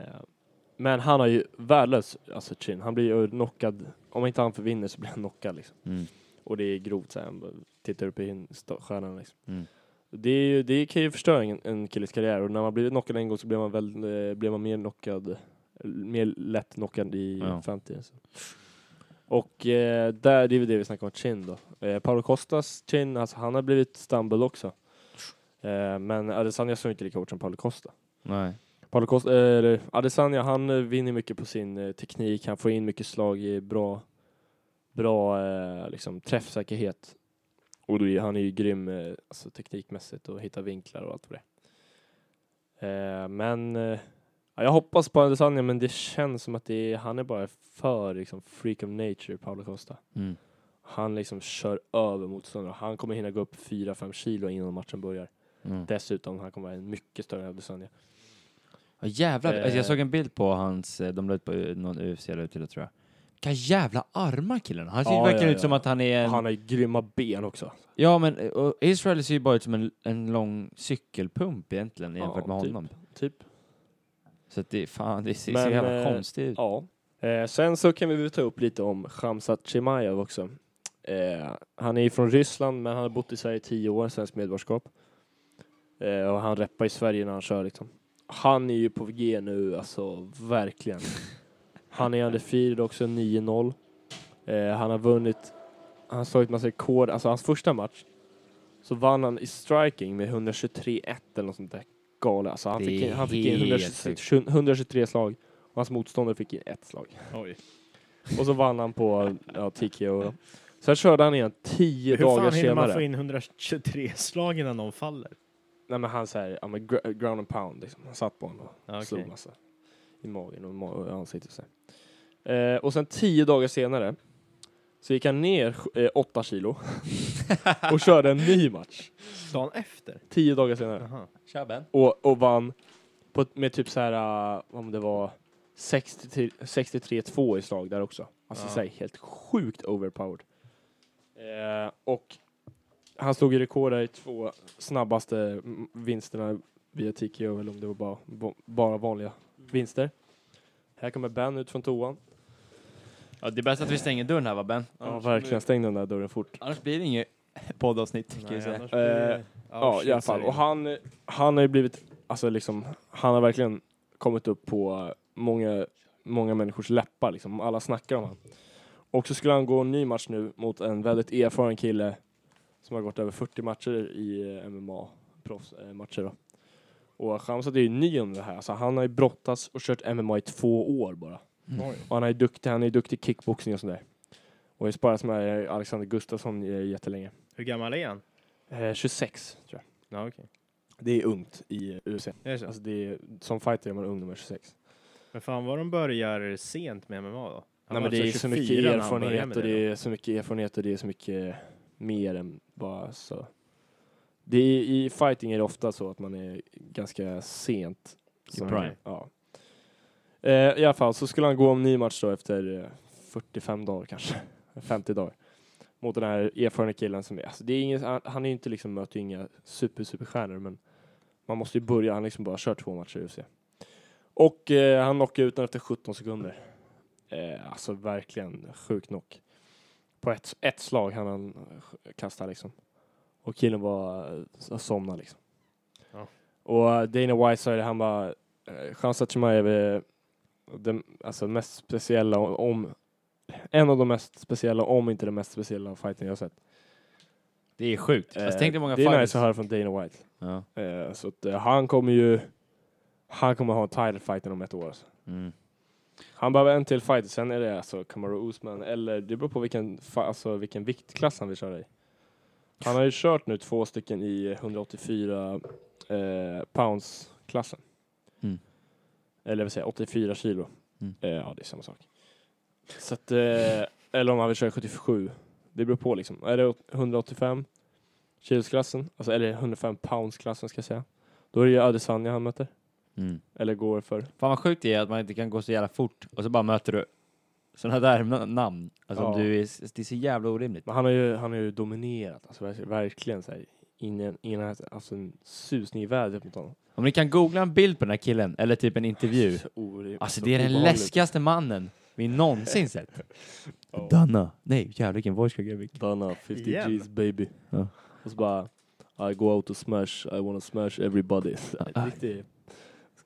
E: men han har ju värdelös alltså, chin. Han blir ju knockad, om inte han förvinner så blir han knockad liksom.
A: Mm.
E: Och det är grovt så här, han bara tittar upp i hin- sta- stjärnan liksom.
A: Mm.
E: Det, är ju, det kan ju förstöra en, en killes karriär och när man blir knockad en gång så blir man, väl, eh, blir man mer knockad, mer lätt knockad i
A: Ja.
E: framtiden. Så. Och eh, där, det är väl det vi snackar om, chin då. Eh, Paolo Costas chin, alltså, han har blivit stumble också. Eh, men Adesanya såg inte lika hårt som Paolo Costa.
A: Nej.
E: Paolo Costa eh, eller Adesanya, han eh, vinner mycket på sin eh, teknik, han får in mycket slag i bra, bra eh, liksom, träffsäkerhet. Och då är, han är ju grym eh, alltså, teknikmässigt och hittar vinklar och allt vad det är. eh, Men eh, ja, jag hoppas på Adesanya, men det känns som att det är, han är bara för liksom, freak of nature, Paolo Costa.
A: Mm.
E: Han liksom kör över motståndare. Han kommer hinna gå upp 4-5 kilo innan matchen börjar.
A: Mm.
E: Dessutom, han kommer vara en mycket större Adesanya.
A: Ja, jävlar,
E: Eh.
A: alltså, jag såg en bild på hans, eh, de la ut på eh, någon UFC la ut det tror jag. Vilka jävla armar killen Han ser
E: Ja,
A: ju verkligen
E: ja,
A: ut som
E: ja.
A: att han är en...
E: Och Han har ju grymma ben också.
A: Ja men eh, och Israel ser ju bara ut som en, en lång cykelpump egentligen jämfört med
E: typ.
A: honom.
E: Typ.
A: Så att det, fan, det ser
E: Men,
A: så
E: eh,
A: jävla konstigt ut.
E: Ja. Eh, Eh, sen så kan vi väl ta upp lite om Khamzat Chimaev också. Eh, han är ju från Ryssland men han har bott i Sverige i tio år, svenskt medborgarskap. Eh, och han reppar i Sverige när han kör liksom. Han är ju på G nu, alltså verkligen. Han är undefeated också, 9-0. Eh, han har vunnit, han har slagit massa rekord, alltså hans första match så vann han i striking med 123-1 eller något sånt där galet. Alltså han
A: Det
E: fick
A: är
E: in, han fick in
A: helt
E: 123, 123 slag och hans motståndare fick in ett slag.
B: Oj.
E: Och så vann han på ja, TKO. då. Sen körde han igen tio
B: Hur
E: dagar
B: fan hinner man
E: senare.
B: få in 123 slag innan någon faller?
E: Nej men han såhär, ja, men gr- ground and pound liksom. Han satt på honom och
B: Ja, okej.
E: slog massa. I magen och, ma- och i ansiktet. och Så. här. Eh, och sen tio dagar senare så gick han ner sj- eh, åtta kilo och körde en ny match.
B: Dagen efter?
E: Tio dagar senare.
B: Jaha.
A: Tja Ben.
E: Och, och vann på, ett- med typ så här, eh, om det var 60 63-2 i slag där också. Alltså
B: Ja.
E: så här, helt sjukt overpowered. Eh, och han slog ju rekord där i två snabbaste mm, vinsterna via TKO eller om det var bara, ba- bara vanliga vinster. Här kommer Ben ut från toan.
A: Ja, det är bäst att vi stänger dörren här va Ben?
E: Ja, verkligen. Stäng den där dörren fort.
A: Annars blir det inget [laughs] poddavsnitt kan jag
B: Nej,
A: säga.
B: annars blir det-
E: Eh, ja,
B: shit,
E: i alla fall.
B: säger
E: Och han, han har ju blivit, alltså liksom, han har verkligen kommit upp på många, många människors läppar liksom. Alla snackar om han. Och så skulle han gå en ny match nu mot en väldigt erfaren kille som har gått över 40 matcher i MMA proffsmatcher eh, då. Och Khamzat är ju ny om det här. Alltså han har ju brottats och kört MMA i två år bara.
B: Oj.
E: Och han är ju duktig, han är ju duktig i kickboxning och sånt där. Och har ju sparats med Alexander Gustafsson eh, jättelänge.
B: Hur gammal är han?
E: Eh, 26 tror jag.
B: Ja, okej.
E: Det är ungt i USA.
B: Är det så?
E: Alltså det är, som fighter är man ung nummer 26.
B: Men fan vad de börjar sent med MMA då. Han
E: Nej,
B: var
E: men det är
B: alltså
E: så mycket
B: 24 när han började
E: erfarenhet
B: med
E: och
B: då.
E: det är så mycket erfarenhet och det är så mycket mer än bara så. Det är, I fighting är det ofta så att man är ganska sent. som-
B: prime.
E: Ja. Eh, I alla fall så skulle han gå om ny match då efter eh, 45 dagar kanske. [laughs] 50 dagar. Mot den här erfarna killen som är, alltså det är ingen, han, han är ju inte liksom, möter ju inga super superstjärnor men man måste ju börja, han liksom bara kört två matcher i UFC. Och eh, han knockade ut den efter 17 sekunder. Eh, alltså verkligen sjuk knock. På ett, ett slag hann han eh, kasta liksom. Och killen var eh, somnade liksom.
B: Ja.
E: Och eh, Dana White sa ju det, han bara, eh, chansat Chimaev är den eh, alltså, mest speciella om, en av de mest speciella, om inte den mest speciella fighten jag har sett.
A: Det är sjukt.
E: Eh,
A: Alltså, tänk dig många
E: det är
A: fighters.
E: nice att höra från Dana White.
A: Ja.
E: Eh, så att, eh, han kommer ju, han kommer ha en title fight inom ett år. Alltså.
A: Mm.
E: Han behöver en till fight, sen är det alltså Kamaru Usman, eller det beror på vilken, fa- alltså, vilken viktklass han vill köra i. Han har ju kört nu två stycken i 184 eh, pounds-klassen.
A: Mm.
E: Eller vill säga 84 kilo.
A: Mm.
E: Eh, ja, det är samma sak. Så att, eh, eller om han vill köra 77. Det beror på liksom. Är det 185 kilosklassen, alltså, eller 105 pounds-klassen ska jag säga, då är det ju Adesanya han möter.
A: Mm.
E: Eller går för.
A: Fan vad sjukt det är att man inte kan gå så jävla fort och så bara möter du sådana där [laughs] na- namn. Alltså om
E: Ja.
A: du är, det är så jävla orimligt.
E: Men han har ju, han har ju dominerat, alltså verk- verkligen så här, ingen, ingen, alltså en susning i vädret mot honom.
A: Om ni kan googla en bild på den här killen eller typ en intervju.
E: Så orimligt,
A: Alltså
E: så
A: det är den
E: obehagligt.
A: läskigaste mannen vi någonsin sett. [laughs]
E: Ja.
A: Danna. Nej, jävlar vilken voice crack
E: Donna, 50
B: Igen.
E: G's baby.
A: Ja.
E: Och så bara, I go out to smash, I wanna smash everybody. Så här,
A: Ah.
E: Riktigt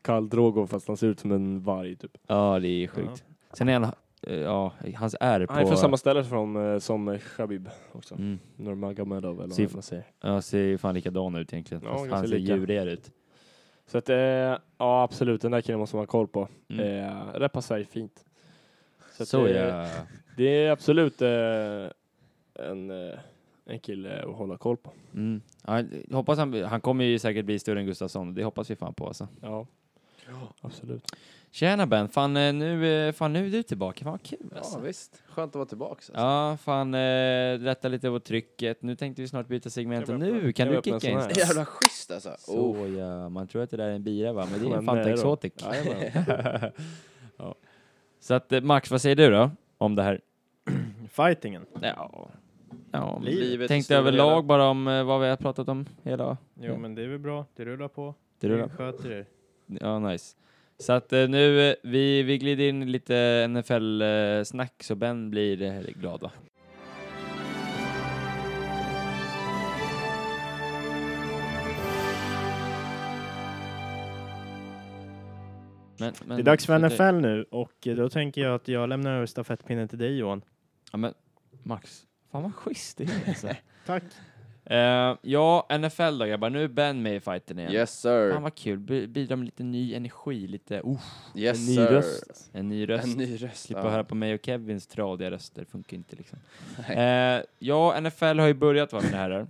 E: Karl Drogo fast han ser ut som en varg typ.
A: Ja, det är sjukt. Sen är han, eh, ja, hans är på...
E: Han är från samma ställe från, eh, som eh, Khabib också.
A: Mm.
E: Nurmagomedov eller
A: Sif-
E: vad man säger.
A: Ja, ser ju fan likadan ut egentligen.
E: Ja,
A: Fast
E: ganska
A: han ser
E: lika.
A: djurigare ut.
E: Så att, eh, ja absolut, den där killen måste man ha koll på.
A: Mm.
E: Eh, reppar Sverige fint.
A: Så,
E: att, eh,
A: ja.
E: Det är absolut eh, en, eh, en kille att hålla koll på.
A: Mm. Ja, jag hoppas han, han kommer ju säkert bli större än Gustafsson. Det hoppas vi fan på alltså.
E: Ja, absolut.
A: Tjena Ben, fan eh, nu, eh, fan nu är du tillbaka. Fan vad kul
D: Ja,
A: alltså.
D: visst. Skönt att vara tillbaka. Alltså.
A: Ja, fan eh, lätta lite på trycket. Nu tänkte vi snart byta segment och
E: Kan vi öppna-
A: nu kan
E: kan vi
A: du
E: öppna en
A: kicka
E: sån
A: in.
E: här?
D: Jävla schysst alltså. Oh.
A: Så ja, man tror att det där är en bira va, men det är en
E: Men
A: Fanta
E: nej då.
A: Exotic. [laughs]
E: Jajamän.
A: ja. Så att eh, Max, vad säger du då om det här?
B: Fightingen.
A: Ja, ja men
B: Livet
A: vi
D: i
A: tänkte
D: stora
A: överlag
D: hela.
A: bara om eh, vad vi har pratat om hela.
B: Jo, men det är väl bra. Det rullar på.
A: Det rullar.
B: Ni sköter er.
A: Ja, nice. Så att eh, nu, eh, vi, vi glider in i lite NFL-snack eh, så Ben blir eh, glad va? Men- men-
B: Det är dags för
A: sluta-
B: NFL nu och eh, då tänker jag att jag lämnar över stafettpinnen till dig Johan.
A: Ja, men Max, fan vad schysst det är alltså.
B: Tack.
A: [laughs] Eh, ja, NFL då grabbar, nu är Ben med i fighten igen.
D: Yes
A: Fan
D: sir.
A: vad kul, Bi- bidra med lite ny energi, lite oh,
D: Yes
A: en ny
D: sir.
A: röst. en ny röst.
D: En ny röst.
A: Slippa
D: ja.
A: höra på mig och Kevins tradiga röster, funkar inte liksom.
D: Nej.
A: Eh, ja, NFL har ju börjat va mina herrar.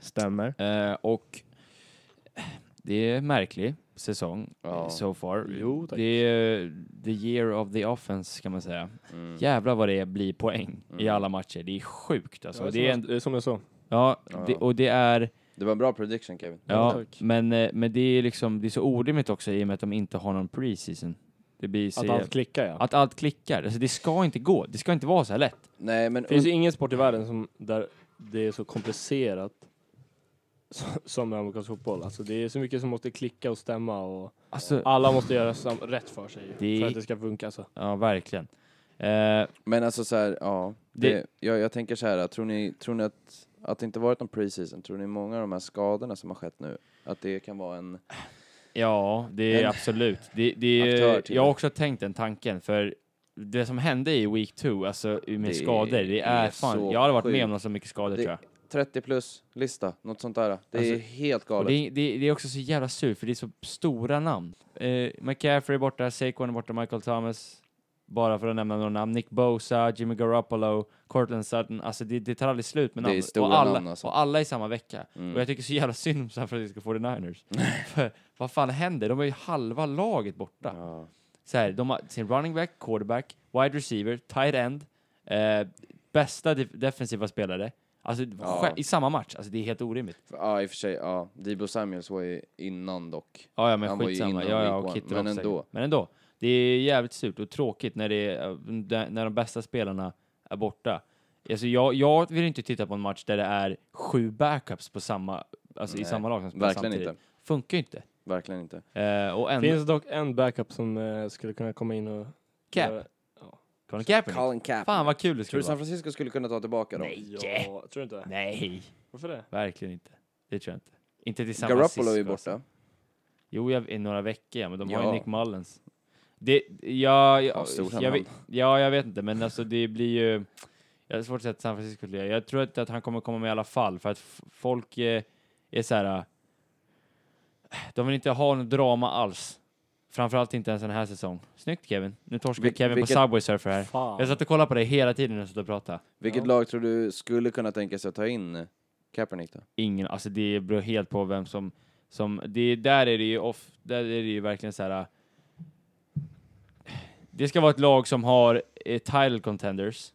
B: Stämmer.
A: Eh, och det är en märklig säsong
D: Ja.
A: so far.
E: Jo, tack.
A: det är eh, the year of the offense kan man säga.
D: Mm.
A: Jävlar vad det blir poäng i
D: Mm.
A: alla matcher. Det är sjukt alltså.
E: Ja,
A: det är
E: som,
A: en,
E: jag, som jag sa.
A: ja,
D: Ja.
A: det, och det är
D: Det var en bra prediction Kevin.
E: Ja,
A: Ja,
E: tack.
A: men, eh, men det är liksom, det är så orimligt också i och med att de inte har någon preseason. Det blir så
E: Att allt klickar ja.
A: att allt klickar. Alltså det ska inte gå. Det ska inte vara så här lätt.
D: Nej men
E: Det finns ju ingen sport i världen som, där det är så komplicerat som- som med amerikansk fotboll. Alltså det är så mycket som måste klicka och stämma och
A: Alltså,
E: alla måste göra sam- rätt för sig
A: Det-
E: för att det ska funka. Alltså.
A: ja verkligen. Eh,
D: Men alltså så här, ja. Det,
A: Det-
D: jag, jag tänker så här, att tror ni, tror ni att, att det inte varit någon preseason, tror ni många av de här skadorna som har skett nu, att det kan vara en...
A: ja, det är
D: En-
A: absolut. Det, det
D: Aktör
A: är,
D: till
A: jag har
D: det.
A: också tänkt den tanken, för det som hände i week 2, alltså med
D: Det
A: skador, det är,
D: är
A: fan,
D: så
A: jag har varit
D: sjukt.
A: med om något så mycket skador
D: Det-
A: tror jag.
D: 30 plus-lista, något sånt där. Det
A: Alltså,
D: är helt
A: Och
D: galet.
A: det, är- det, det är också så jävla surt, för det är så stora namn. Eh, McCaffrey är borta, Saquon är borta, Michael Thomas, bara för att nämna några namn. Nick Bosa, Jimmy Garoppolo, Cortland Sutton. Alltså det, det tar aldrig slut med
D: Det är
A: namn.
D: stora
A: och, alla,
D: namn, alltså.
A: och alla i samma vecka.
D: Mm.
A: Och jag tycker så jävla synd om San Francisco
D: [laughs]
A: 49ers. [laughs] för vad fan händer? De har ju halva laget borta.
D: ja.
A: Så här, de har sin running back, quarterback, wide receiver, tight end, eh, bästa def- defensiva spelare. Alltså
D: Ja.
A: i samma match. Alltså det är helt orimligt.
D: För- ja, i och för sig, ja. Debo Samuels var ju innan dock.
A: Ja, ja men
D: Han var ju
A: skitsamma.
D: innan
A: Ja, ja,
D: week
A: och
D: one,
A: Kittel
D: men
A: också.
D: ändå.
A: Men ändå. Det är jävligt surt och tråkigt när, det är, där- när de bästa spelarna är borta. Alltså jag, jag vill inte titta på en match där det är sju backups på samma, alltså i
D: Nej,
A: samma lag som spelar
D: Verkligen
A: samtidigt.
D: inte.
A: Funkar ju inte.
D: Verkligen inte.
A: Eh, och ändå...
E: Det finns dock en backup som eh, skulle kunna komma in och...
A: Cap.
E: göra-
A: Colin Kaepernick.
D: Colin Kaepernick.
A: Fan vad kul det
D: Tror
A: skulle
D: du San
A: vara.
D: Francisco skulle kunna ta tillbaka dem?
E: Ja, tror du inte?
A: Nej,
E: Varför det?
A: verkligen inte. Det tror jag inte. Inte till San
D: Garoppolo är ju
A: Francisco,
D: borta.
A: alltså. Jo, jag, i några veckor ja, men de har ju
D: Ja.
A: Nick Mullens. Det, ja,
D: Ja,
A: jag,
D: stora
A: jag,
D: namn.
A: vet, ja, jag vet inte, men alltså det blir ju... Jag har svårt att säga att San Francisco skulle göra. Jag tror att, att han kommer komma med i alla fall, för att f- folk eh, är så här... eh, De vill inte ha något drama alls. Framförallt inte ens den här säsongen. Snyggt Kevin. Nu torskar
D: Vil-
A: Kevin
D: vilket-
A: på Subway Surfer här.
E: Fan.
A: Jag satt och kollade på dig hela tiden när jag satt och pratade.
D: Vilket
E: Ja.
D: lag tror du skulle kunna tänka sig att ta in eh, Kaepernick då?
A: ingen, alltså det beror helt på vem som, som det, där är det ju off, där är det ju verkligen så här. äh, Det ska vara ett lag som har eh, title contenders,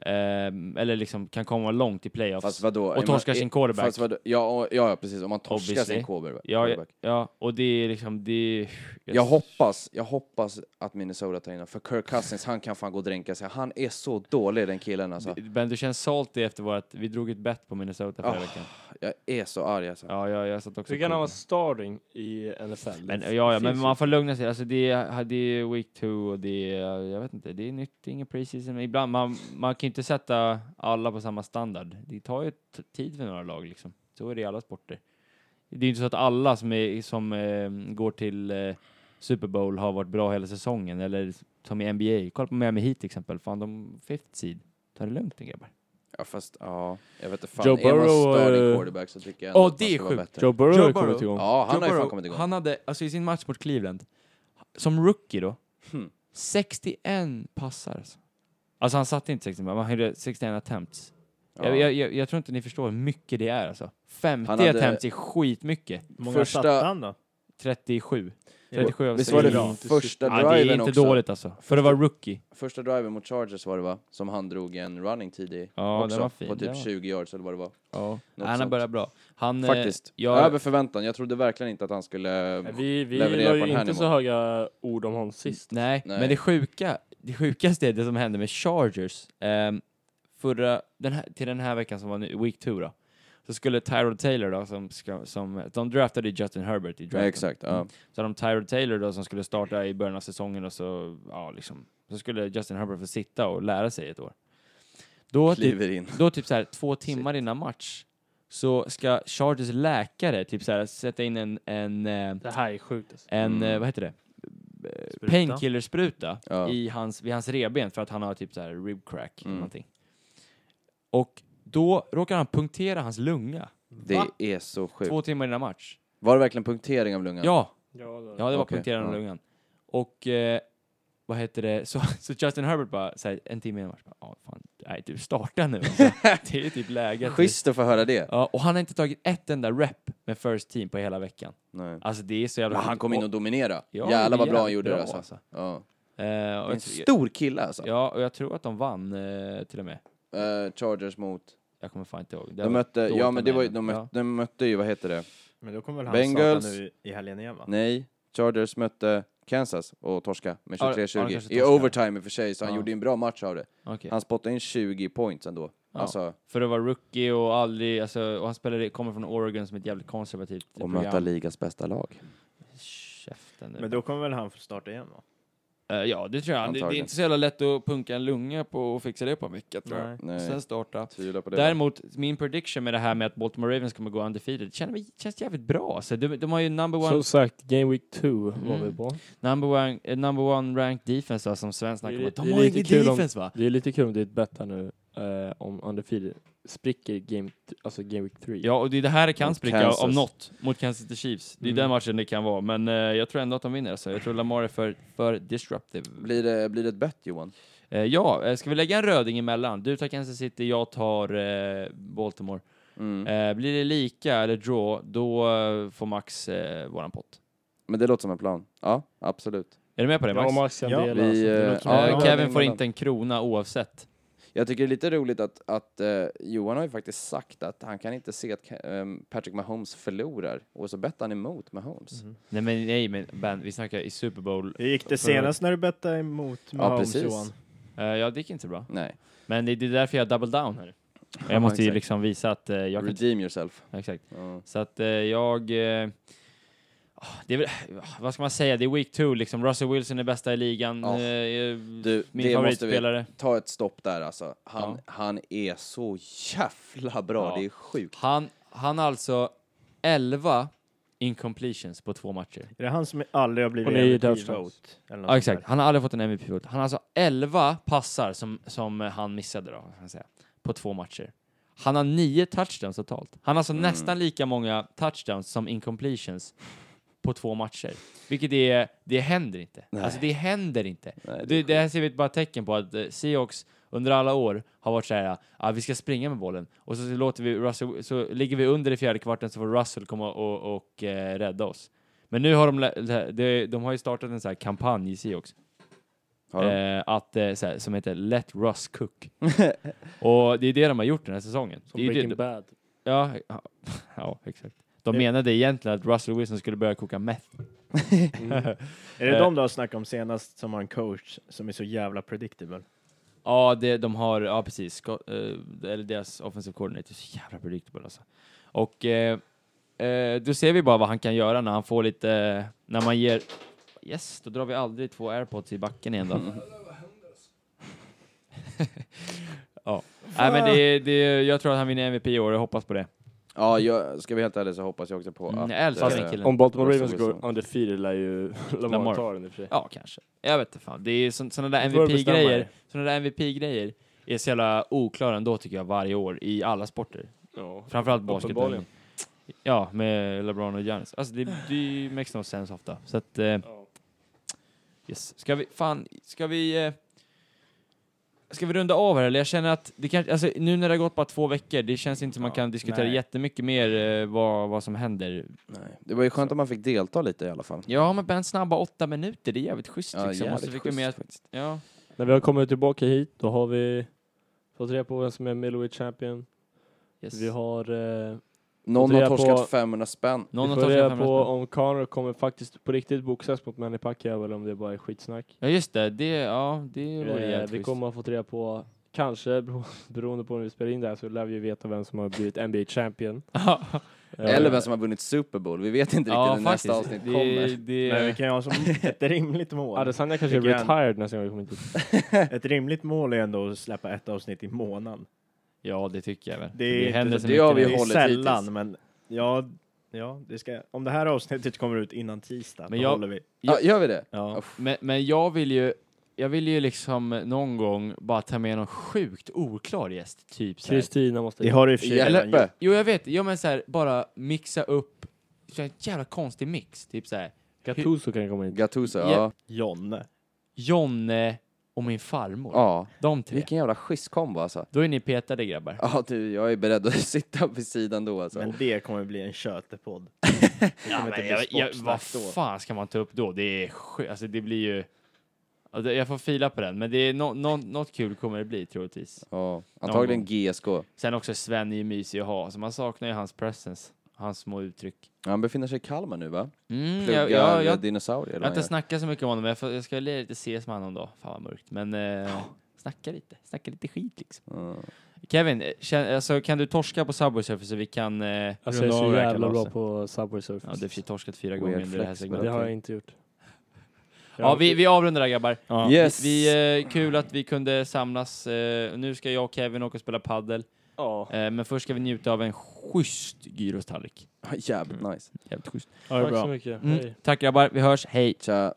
A: ehm, eller liksom kan komma långt i playoffs.
D: Fast vadå?
A: och torskar sin quarterback.
D: Fast vadå? Ja, och- ja, ja, precis. Om man torskar
A: Obviously.
D: sin quarterback.
A: ja, ja,
D: quarterback.
A: ja, och det är liksom, det är...
D: Jag hoppas, jag hoppas att Minnesota tar in honom, för Kirk Cousins, han kan fan gå och dränka sig. Han är så dålig den killen alltså.
A: Ben, du känns salty efter vårt, vi drog ett bett på Minnesota förra
D: Ah.
A: veckan.
D: Jag är så arg alltså.
A: Ja, jag, jag satt också
E: Så kan
A: och-
E: han vara starting i NFL?
A: Men,
E: Det
A: ja, ja,
E: finns
A: men
E: ju-
A: man får lugna sig. Alltså, det, är, det är week two och det är, jag vet inte, det är nytt, det är ingen preseason. Men Ibland, man, man kan ju inte sätta alla på samma standard. Det tar ju t- tid för några lag liksom. Så är det i alla sporter. Det är ju inte så att alla som, är, som eh, går till eh, Super Bowl har varit bra hela säsongen, eller som i NBA. Kolla på Miami Heat till exempel, fan de fifth seed. Ta det lugnt nu grabbar.
D: Ja, fast ja, jag vet inte fan.
E: Joe
D: är man
E: Burrow,
D: starting
E: eh,
D: quarterback så tycker jag ändå
A: Åh,
D: att man
A: det är
D: ska vara
A: sjukt.
D: bättre.
E: Joe Burrow
A: Joe
E: har ju
A: Burrow.
E: kommit igång.
D: Ja, han
A: Joe
D: har ju fan
A: Burrow,
D: kommit igång.
A: Han hade, alltså i sin match mot Cleveland, som rookie då,
D: Hmm.
A: 61 passar. Alltså. alltså han satte inte 61, men han hade 61 attempts.
D: Ja.
A: Jag, jag, jag, jag tror inte ni förstår hur mycket det är alltså. 50
D: Han hade-
A: attempts är skitmycket.
B: Hur många
D: Första-
B: satte han då?
A: 37. 37 av
D: Visst var det
A: 60.
E: Ja.
D: första
A: Ja, det är
D: driven
A: inte
D: också?
A: dåligt alltså. För det var rookie.
D: Första driven mot Chargers var det va? Som han drog en running tidig
A: Ja,
D: också.
A: den var fin.
D: På
A: den
D: typ
A: var-
D: 20 yards eller vad det var.
A: Ja.
D: Något
A: Han har
D: sånt.
A: börjat bra. Han, eh,
D: Faktiskt.
A: Jag,
D: Över förväntan. Jag trodde verkligen inte att han skulle...
E: Nej, Vi, vi
D: leverera
E: la
D: på
E: ju
D: den här
E: inte så
D: nivån.
E: höga ord om honom sist.
A: Nej,
D: Nej.
A: men det sjuka, det sjukaste är det som hände med Chargers. Ehm, förra, den här, till den här veckan som var nu, Week 2 då. Så skulle Tyrod Taylor då, som, ska, som de draftade Justin Herbert i
D: Ja,
A: draften.
D: exakt. Ja.
A: Så hade de Tyrod Taylor då som skulle starta i början av säsongen och så, ja liksom, så skulle Justin Herbert få sitta och lära sig ett år. Då typ,
D: Kliver in.
A: då typ så här två timmar innan match så ska Chargers läkare typ så här sätta in en, en, eh,
E: Det här är sjukt alltså.
A: en
D: Mm.
A: eh, vad heter det?
C: Spruta.
A: Painkillerspruta
D: Ja.
A: i hans, vid hans revben för att han har typ så här rib crack eller
D: Mm.
A: någonting. Och då råkar han punktera hans lunga
D: Det är så sjukt.
A: två timmar innan match.
D: Var det verkligen punktering av lungan?
A: Ja,
E: Ja, det
A: Ja, det var
D: Okej,
A: punkterande
D: ja.
A: lungan. Och eh, vad heter det, så, [laughs] så Justin Herbert bara så här, en timme innan match, bara, "Ja, fan, nej du startar
D: [laughs]
A: nu. Alltså, det är typ läge. att-
D: Schysst att få höra det.
A: Ja, och han har inte tagit ett enda rep med first team på hela veckan.
D: Nej.
A: Alltså det är så jävla
D: Men han
A: sjukt.
D: kom in och dominerade.
A: Ja,
D: Jävlar vad bra han
A: jävligt
D: gjorde
A: bra,
D: det alltså.
A: alltså.
D: Ja.
A: Eh, och
D: En
A: jag,
D: stor kille alltså.
A: ja, och jag tror att de vann eh, till och med.
D: Eh, Chargers mot...
A: Jag kommer fan inte ihåg. Det
D: De
A: var
D: mötte,
A: dåligt
D: ja men det
A: av
D: var ju,
A: mig,
D: de,
A: men-
D: mötte, de mötte ju, vad heter det?
B: Men då kommer väl han
D: Bengals.
B: starta nu i- i helgen igen va?
D: Nej, Chargers mötte Kansas och torska med
A: Ja, ja, de
D: 23-20.
A: kanske
D: I
A: torskade.
D: overtime i och för sig, så han
A: Ja.
D: gjorde ju en bra match av det.
A: Ja, okej.
D: Han spottade in 20 points ändå.
A: Ja.
D: Alltså,
A: För det var rookie och aldrig, alltså, och han spelade, kommer från Oregon som ett jävligt konservativt
D: och
A: program.
D: möta ligans bästa lag.
A: Käften nu.
B: Men då kommer väl han få starta igen va?
A: Eh, ja, det tror jag. Det, det är
D: Antagligen.
A: inte så jävla lätt att punka en lunga på och fixa det på en vecka, tror jag.
D: Nej.
A: Sen starta.
D: Tvivlar på det.
A: Däremot, min prediction med det här med att Baltimore Ravens kommer gå undefeated känner mig, känns jävligt bra. Så de, de har ju number one,
E: Som sagt, Game Week 2 var
A: Mm.
E: vi på.
A: number one, eh, number one ranked defense va, som Sven snackade
E: Det
A: om.
E: är-
A: att De
E: det är
A: har
E: lite
A: ingen
E: kul om-
A: defense va?
E: Det är lite kul om ditt bett här nu eh, om undefeated spricker game, t- alltså game Week 3.
A: Ja, och det är det här det kan
D: Mot
A: spricka
D: Kansas.
A: om något mot Kansas City Chiefs. Det är
E: Mm.
A: den matchen det kan vara, men eh, jag tror ändå att de vinner. Alltså. Jag tror Lamar är för, för disruptive.
D: Blir det, blir det ett bett Johan?
A: Eh, ja, eh, ska vi lägga en röding emellan? Du tar Kansas City, jag tar eh, Baltimore.
D: Mm.
A: Eh, blir det lika eller draw, då eh, får Max eh, våran pott.
D: Men det låter som en plan. Ja, absolut.
A: Är du med på det Max?
E: Ja, Max kan
B: Ja.
E: dela.
D: Vi,
E: alltså. Det
D: eh,
E: låter som
D: ja,
E: en
A: eh,
E: bra-
A: Kevin får
D: mellan.
A: inte en krona oavsett.
D: Jag tycker det är lite roligt att, att eh, Johan har ju faktiskt sagt att han kan inte se att Ka- ehm, Patrick Mahomes förlorar och så bettar han emot Mahomes.
A: Nej men, nej, men ben, vi snackar i Super Bowl.
B: Hur gick det
A: Förra-
B: senast när du bettade emot Mahomes
D: precis.
B: Johan?
A: Eh, ja, det gick inte så bra.
D: Nej.
A: Men det, det är därför jag double down här.
D: Ja,
A: Jag måste ju
D: exakt.
A: liksom visa att eh, jag kan...
D: Redeem yourself.
A: Ja, Exakt.
D: Ja.
A: Så att eh, jag... Eh, ah, det är väl, ah, vad ska man säga? Det är week two liksom. Russell Wilson är bästa i ligan.
D: Ja.
A: Eh,
D: Du,
A: min
D: det måste vi
A: favoritspelare.
D: ta ett stopp där alltså. Han, han är så jävla bra,
A: Ja.
D: det är sjukt.
A: Han, han har alltså 11 incompletions på två matcher.
B: Är det han som aldrig har blivit
E: Och det är ju touchdowns.
B: MVP-vote? eller något
A: Ja,
B: sånt
A: exakt.
B: där?
A: Han har aldrig fått en MVP-vote. Han har alltså 11 passar som, som eh, han missade då, kan jag säga, på två matcher. Han har nio touchdowns totalt. Han har
B: Mm.
A: alltså nästan lika många touchdowns som incompletions på två matcher. Vilket är, det händer inte. Alltså det händer inte.
D: Nej,
A: det, det här ser vi bara tecken på att eh, Seahawks under alla år har varit så här, ah, vi ska springa med bollen och så låter vi Russell, så ligger vi under i fjärde kvarten så får Russell komma och, och eh, rädda oss. Men nu har de, lä- de, de har ju startat en sån här kampanj i Seahawks
D: Har de?
A: eh, att, eh, så här, som heter Let Russ
E: [laughs]
A: Cook. och det är det de har gjort den här säsongen.
E: Som
A: det är ju
E: Breaking
A: det,
E: Bad.
A: ja, ja, [laughs] ja, exakt. De
B: Det-
A: menade egentligen att Russell Wilson skulle börja koka meth.
B: Är det
A: Eh.
B: de du har snackat om senast som har en coach som är så jävla predictable?
A: Ja, det, de har, ja precis, Scott, eh, eller deras offensive coordinator är så jävla predictable alltså. Och eh, eh, då ser vi bara vad han kan göra när han får lite, eh, när man ger, yes, då drar vi aldrig två airpods i backen igen då.
E: Mm.
A: [laughs] ja, nej men det, det, jag tror att han vinner MVP i år, jag hoppas på det.
D: Ja, jag, ska vi helt ärligt så hoppas jag också på
A: Mm,
D: att...
A: jag älskar
D: eh,
A: den killen.
E: Om Baltimore
D: Russell
E: Ravens går
D: Wilson.
E: undefeated lär ju
A: Lamar.
E: Lamar ta den i och för sig.
A: Ja, kanske. Jag vet inte fan. Det är så, sådana där
E: Du får bestämma
A: MVP-grejer,
E: dig.
A: sådana där MVP-grejer är så jävla oklara ändå tycker jag varje år i alla sporter.
E: Ja.
A: Framförallt basket.
E: Uppenbarligen.
A: Ja, med LeBron och Giannis. Alltså det, det makes no sense ofta. Så att, eh, yes. Ska vi, fan, ska vi... Eh, ska vi runda av här eller? Jag känner att, det kanske, alltså nu när det har gått bara två veckor, det känns inte som man
B: Ja,
A: kan diskutera
B: nej.
A: jättemycket mer eh, vad, vad som händer.
D: Nej. Det var ju skönt att man fick delta lite i alla fall.
A: Ja, men Ben snabba åtta minuter, det är jävligt schysst liksom. Och så fick vi
D: schysst
A: med,
D: faktiskt.
A: ja.
E: När vi har kommit tillbaka hit, då har vi fått reda på vem som är middleweight champion.
A: Yes.
E: Vi har... Eh,
D: Någon
E: Och det
D: har
E: är på-
D: torskat 500 spänn.
A: Någon
E: vi
A: har
E: får
A: tagit
E: reda
A: fram
E: på
A: på...
E: om Connor kommer faktiskt på riktigt boxas mot Manny Pacquiao eller om det bara är skitsnack.
A: Ja, just det. Det, ja, det vore
E: Eh,
A: jävligt
E: vi
A: [laughs] schysst.
E: kommer att få reda på kanske, bero- [laughs] beroende på när vi spelar in det här, så lär vi ju veta vem som har blivit NBA champion. Eh,
D: Eller vem som har vunnit Super Bowl. Vi vet inte
A: Ja,
D: riktigt när nästa
A: faktiskt.
D: avsnitt
A: det,
D: kommer.
A: det,
B: Men vi kan ju
D: [laughs]
B: ha som ett rimligt mål.
E: Eh, Adesanya kanske är
B: Tycker han-
E: retired nästa gång vi kommer hit.
B: Ett rimligt mål är ändå att släppa ett avsnitt i månaden.
A: Ja, det tycker jag väl.
B: Det är inte-
A: händer så
D: det
A: mycket
D: har vi
A: nu.
B: det är
D: hållit
B: sällan,
D: hittills.
B: men ja, ja det ska, om det här avsnittet kommer ut innan tisdag,
A: Men
B: då
A: jag-
B: håller vi.
D: Ja, gör vi det?
B: Ja.
A: Men, men jag vill ju, jag vill ju liksom någon gång bara ta med någon sjukt oklar gäst, typ så här.
E: Kristina måste
B: Det har du i och för sig redan gjort.
D: Hjälpe!
A: Jo, jag vet. Jo, men så här, bara mixa upp, så här, en jävla konstig mix, typ så här.
E: Gattuso kan komma hit.
D: Gattuso,
A: Ja.
D: ja.
B: Jonne.
A: Jonne och min farmor.
D: ja.
A: De tre.
D: Vilken jävla schysst kombo alltså.
A: Då är ni petade grabbar.
D: Ja du, jag är beredd att [laughs] sitta vid sidan då alltså.
B: Men det kommer bli
A: [laughs]
B: en tjötepodd.
A: Ja,
B: kommer inte
A: men
B: bli
A: jag, jag,
B: sportsnack
A: vad
B: då.
A: fan ska man ta upp då? Det är sjukt. Alltså det blir ju... Ja, det- Jag får fila på den, men det är no, no, något kul kommer det bli troligtvis.
D: Ja, antagligen GSK.
A: Sen också Sven är ju mysig att ha, så man saknar ju hans presence. Hans små uttryck.
D: Han befinner sig i Kalmar nu va?
A: Mm,
D: Pluggar
A: jag, jag, jag,
D: dinosaurier.
A: Jag har
D: eller
A: inte
D: vad han
A: snackat så mycket om honom, jag, får, jag ska lära lite ses med honom då. Fan vad mörkt. Men eh, snacka lite, snacka lite skit liksom.
D: gör. Mm.
A: Kevin, eh, kän, alltså, kan du torska på Subway Surfer så vi kan eh,
E: Alltså jag är
A: av
E: så
A: det här
E: jävla bra
A: kalaset?
E: på Subway Surfers.
A: Ja, du har i och för sig torskat fyra
D: Weird
A: gånger under det här
D: flex, men-
E: Men
A: segmentet.
E: det har jag inte gjort.
A: Ja, vi, vi avrundar där grabbar.
B: Ja.
D: Yes!
A: Vi, eh, kul att vi kunde samlas. Eh, nu ska jag och Kevin åka och spela paddel.
E: Ja.
A: Eh, men först ska vi njuta av en schysst gyrostallrik.
D: Jävligt nice.
A: Jävligt schysst.
B: Ja, det är
E: Tack
B: bra.
E: så mycket.
A: Mm.
E: Hej.
A: Tack grabbar, vi hörs. Hej!
D: Tja.